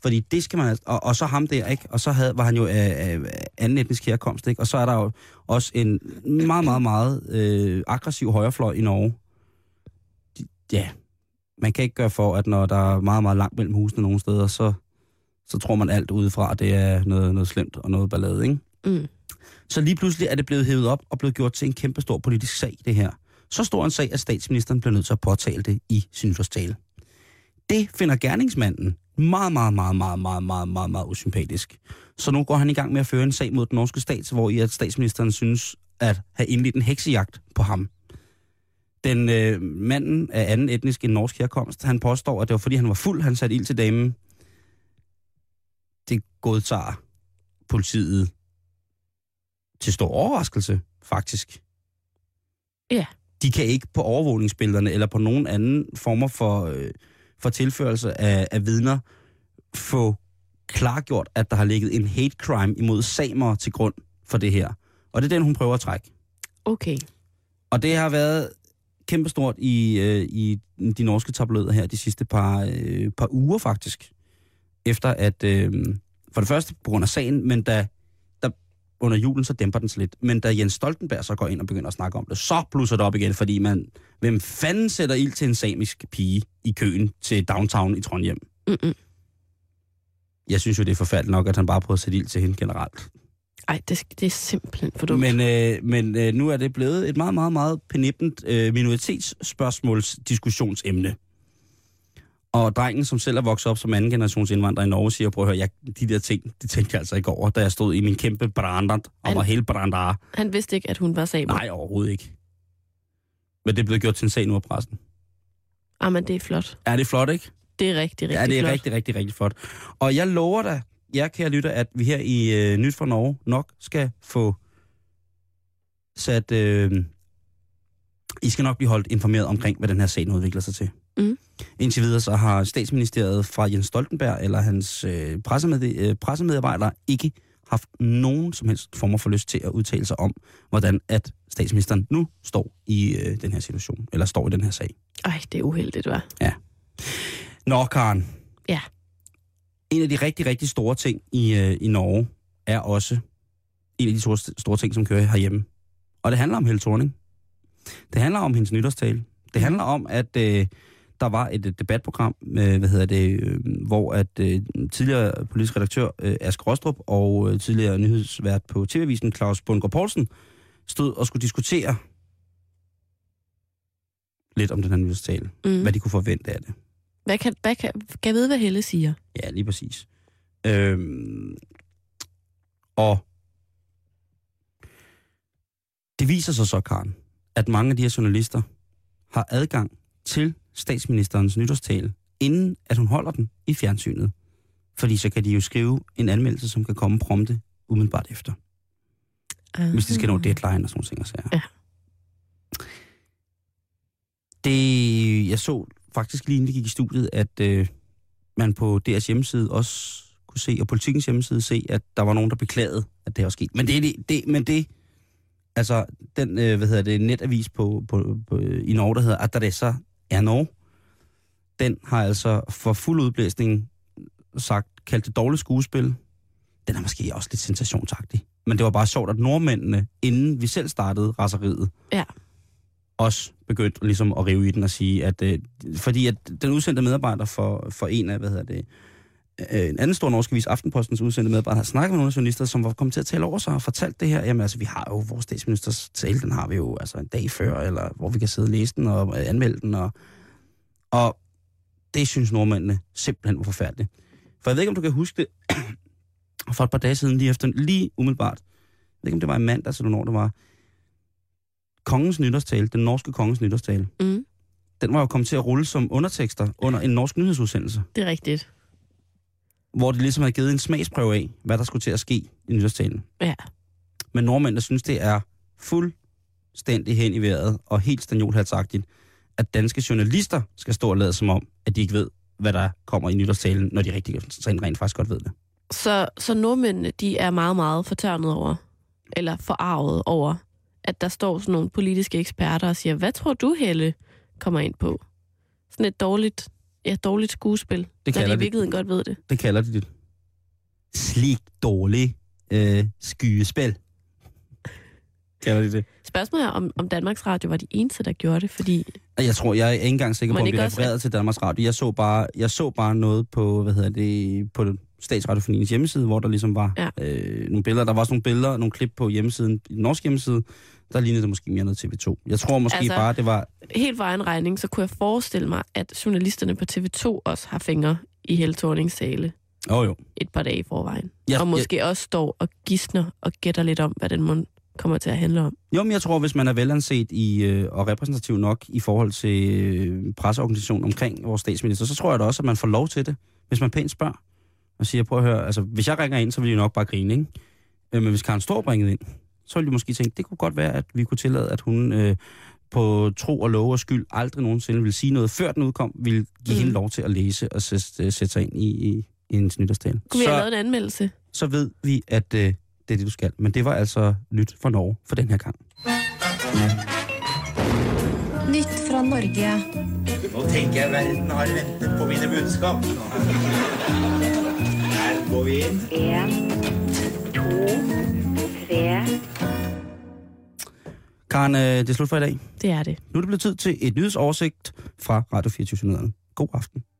B: Fordi det skal man altså, og, og så ham der, ikke? Og så havde, var han jo af, af anden etnisk herkomst, ikke? Og så er der jo også en meget, meget, meget øh, aggressiv højrefløj i Norge. De, ja, man kan ikke gøre for, at når der er meget, meget langt mellem husene nogle steder, så, så tror man alt udefra, det er noget, noget slemt og noget ballade, ikke?
C: Mm.
B: Så lige pludselig er det blevet hævet op og blevet gjort til en kæmpe stor politisk sag, det her. Så stor en sag, at statsministeren bliver nødt til at påtale det i sin nytårstale. Det finder gerningsmanden meget, meget, meget, meget, meget, meget, meget, meget usympatisk. Så nu går han i gang med at føre en sag mod den norske stat, hvor i at statsministeren synes at have indledt en heksejagt på ham. Den øh, manden af anden etnisk end norsk herkomst, han påstår, at det var fordi han var fuld, han satte ild til damen. Det godtager politiet til stor overraskelse, faktisk.
C: Ja.
B: De kan ikke på overvågningsbillederne eller på nogen anden former for, øh, for tilførelse af, af vidner få klargjort, at der har ligget en hate crime imod samer til grund for det her. Og det er den, hun prøver at trække.
C: Okay.
B: Og det har været kæmpestort i, øh, i de norske tabloider her de sidste par, øh, par uger faktisk. Efter at, øh, for det første på grund af sagen, men da, da under julen så dæmper den sig lidt. Men da Jens Stoltenberg så går ind og begynder at snakke om det, så blusser det op igen, fordi man, hvem fanden sætter ild til en samisk pige i køen til downtown i Trondheim?
C: Mm-mm.
B: Jeg synes jo, det er forfærdeligt nok, at han bare prøver at sætte ild til hende generelt.
C: Ej, det, det er simpelthen for dumt. Men...
B: Men, øh, men øh, nu er det blevet et meget, meget, meget penippent øh, minoritetsspørgsmålsdiskussionsemne. Og drengen, som selv er vokset op som anden generations indvandrer i Norge, siger, prøv at høre, jeg, de der ting, det tænkte jeg altså ikke over, da jeg stod i min kæmpe brandant og
C: Han-
B: var helt brandar.
C: Han vidste ikke, at hun var samer.
B: Nej, overhovedet ikke. Men det er blevet gjort til en sag nu af pressen.
C: Ah, men det er flot.
B: Er det flot, ikke?
C: Det er rigtig, rigtig
B: ja, det er
C: flot.
B: rigtig, rigtig, rigtig flot. Og jeg lover dig, jeg kan lytte, at vi her i øh, Nyt fra Norge nok skal få sat... Øh, I skal nok blive holdt informeret omkring, hvad den her sag nu udvikler sig til.
C: Mm.
B: Indtil videre så har statsministeriet fra Jens Stoltenberg eller hans øh, pressemed, øh, pressemedarbejdere ikke haft nogen som helst former for lyst til at udtale sig om, hvordan at statsministeren nu står i øh, den her situation, eller står i den her sag.
C: Ej, det er uheldigt, hva'?
B: Nå, Karen.
C: Ja.
B: En af de rigtig, rigtig store ting i, øh, i Norge er også en af de store, store ting, som kører herhjemme. Og det handler om Helle Thorning. Det handler om hendes nytårstale.
C: Mm.
B: Det handler om, at øh, der var et, øh, debatprogram, øh, hvad hedder det, øh, hvor at øh, tidligere politisk redaktør øh, Ask Rostrup og øh, tidligere nyhedsvært på TV-avisen Claus Bundgaard Poulsen stod og skulle diskutere lidt om den her nytårstale. Mm.
C: Mm.
B: Hvad de kunne forvente af det.
C: Hvad kan, hvad kan, kan jeg vide, hvad Helle siger?
B: Ja, lige præcis. Øhm, og det viser sig så, Karen, at mange af de her journalister har adgang til statsministerens nytårstale, inden at hun holder den i fjernsynet. Fordi så kan de jo skrive en anmeldelse, som kan komme prompte umiddelbart efter hvis de skal nå deadline og sådan nogle ting. og sager.
C: Ja.
B: Det, jeg så faktisk lige inden vi gik i studiet, at øh, man på DR's hjemmeside også kunne se, og politikens hjemmeside se, at der var nogen, der beklagede, at det var sket. Men det, er det, det, men det altså den, øh, hvad hedder det, netavis på, på, på, i Norge, der hedder Adressa er Norge, den har altså for fuld udblæsning sagt, kaldt det dårligt skuespil. Den er måske også lidt sensationsagtig. Men det var bare sjovt, at nordmændene, inden vi selv startede raseriet,
C: Ja.
B: også begyndte ligesom at rive i den og sige, at... Øh, fordi at den udsendte medarbejder for, for en af, hvad hedder det, øh, en anden stor norsk avis, Aftenpostens udsendte medarbejder, har snakket med nogle af journalister, som var kommet til at tale over sig og fortalt det her. Jamen altså, vi har jo vores statsministers tale, den har vi jo altså en dag før, eller hvor vi kan sidde og læse den og øh, anmelde den. Og, og det synes nordmændene simpelthen var forfærdeligt. For jeg ved ikke, om du kan huske det, for et par dage siden, lige efter, lige umiddelbart. Jeg ved ikke, om det var i mandags, eller når det var. Kongens nytårstale, den norske kongens nytårstale,
C: Mm,
B: den var jo kommet til at rulle som undertekster under en norsk nyhedsudsendelse,
C: det er rigtigt.
B: hvor det ligesom havde givet en smagsprøve af, hvad der skulle til at ske i nytårstalen.
C: Ja.
B: Men nordmænd, der synes, det er fuldstændig hen i vejret og helt stanjolhatsagtigt, at danske journalister skal stå og lade som om, at de ikke ved, hvad der kommer i nytårstalen, når de rigtig rent faktisk godt ved det.
C: Så, så nordmændene, de er meget, meget fortørnet over, eller forarvet over, at der står sådan nogle politiske eksperter og siger, hvad tror du, Helle kommer ind på? Sådan et dårligt, ja, dårligt skuespil,
B: Det
C: når de
B: kalder
C: i
B: de-
C: virkeligheden godt ved det.
B: Det kalder de det. Slik dårlig øh, skyespil. kalder de det.
C: Spørgsmålet er, om, om Danmarks Radio var de eneste, der gjorde det, fordi
B: Og Jeg tror, jeg er ikke engang sikker
C: Men
B: på, om
C: ikke
B: det
C: også-
B: refererede til Danmarks Radio. Jeg så bare, jeg så bare noget på, hvad hedder det, på Statsradiofoniens hjemmeside, hvor der ligesom var ja.
C: Ja.
B: øh, nogle billeder. Der var også nogle billeder, nogle klip på hjemmesiden, den norske hjemmeside, der lignede det måske mere noget TV2. Jeg tror måske altså,
C: Altså-
B: bare, det var...
C: helt for egen regning, så kunne jeg forestille mig, at journalisterne på TV2 også har fingre i Helle Thornings tale
B: Åh oh, jo.
C: et par dage i forvejen.
B: Jeg,
C: og
B: jeg,
C: måske også står og gisner og gætter lidt om, hvad den mund kommer til at handle om.
B: Jo, men jeg tror, hvis man er velanset i, øh, og repræsentativ nok i forhold til øh, presseorganisationen omkring vores statsminister, så tror jeg da også, at man får lov til det, hvis man pænt spørger. Og siger, prøv at høre, altså hvis jeg ringer ind, så vil de nok bare grine, ikke? Øh, men hvis Karen Storb ringede ind, så ville de måske tænke, det kunne godt være, at vi kunne tillade, at hun øh, på tro og lov og skyld aldrig nogensinde ville sige noget, før den udkom, ville give mm.
C: Mm.
B: hende lov til at læse og øh, sætte, sætte sig ind i, i, i hendes nytårstale.
C: Kunne vi have lavet en anmeldelse?
B: så ved vi, at øh, det er det, du skal. Men det var altså nyt fra Norge for den her gang.
D: Nytt fra Norge.
E: Nå tenker jeg verden har ventet på mine budskap. Her går vi inn.
F: En, to, tre,
B: Karen, øh, det er slut for i dag.
C: Det er det.
B: Nu er det blevet tid til et nyhedsoversigt fra Radio 24 God aften.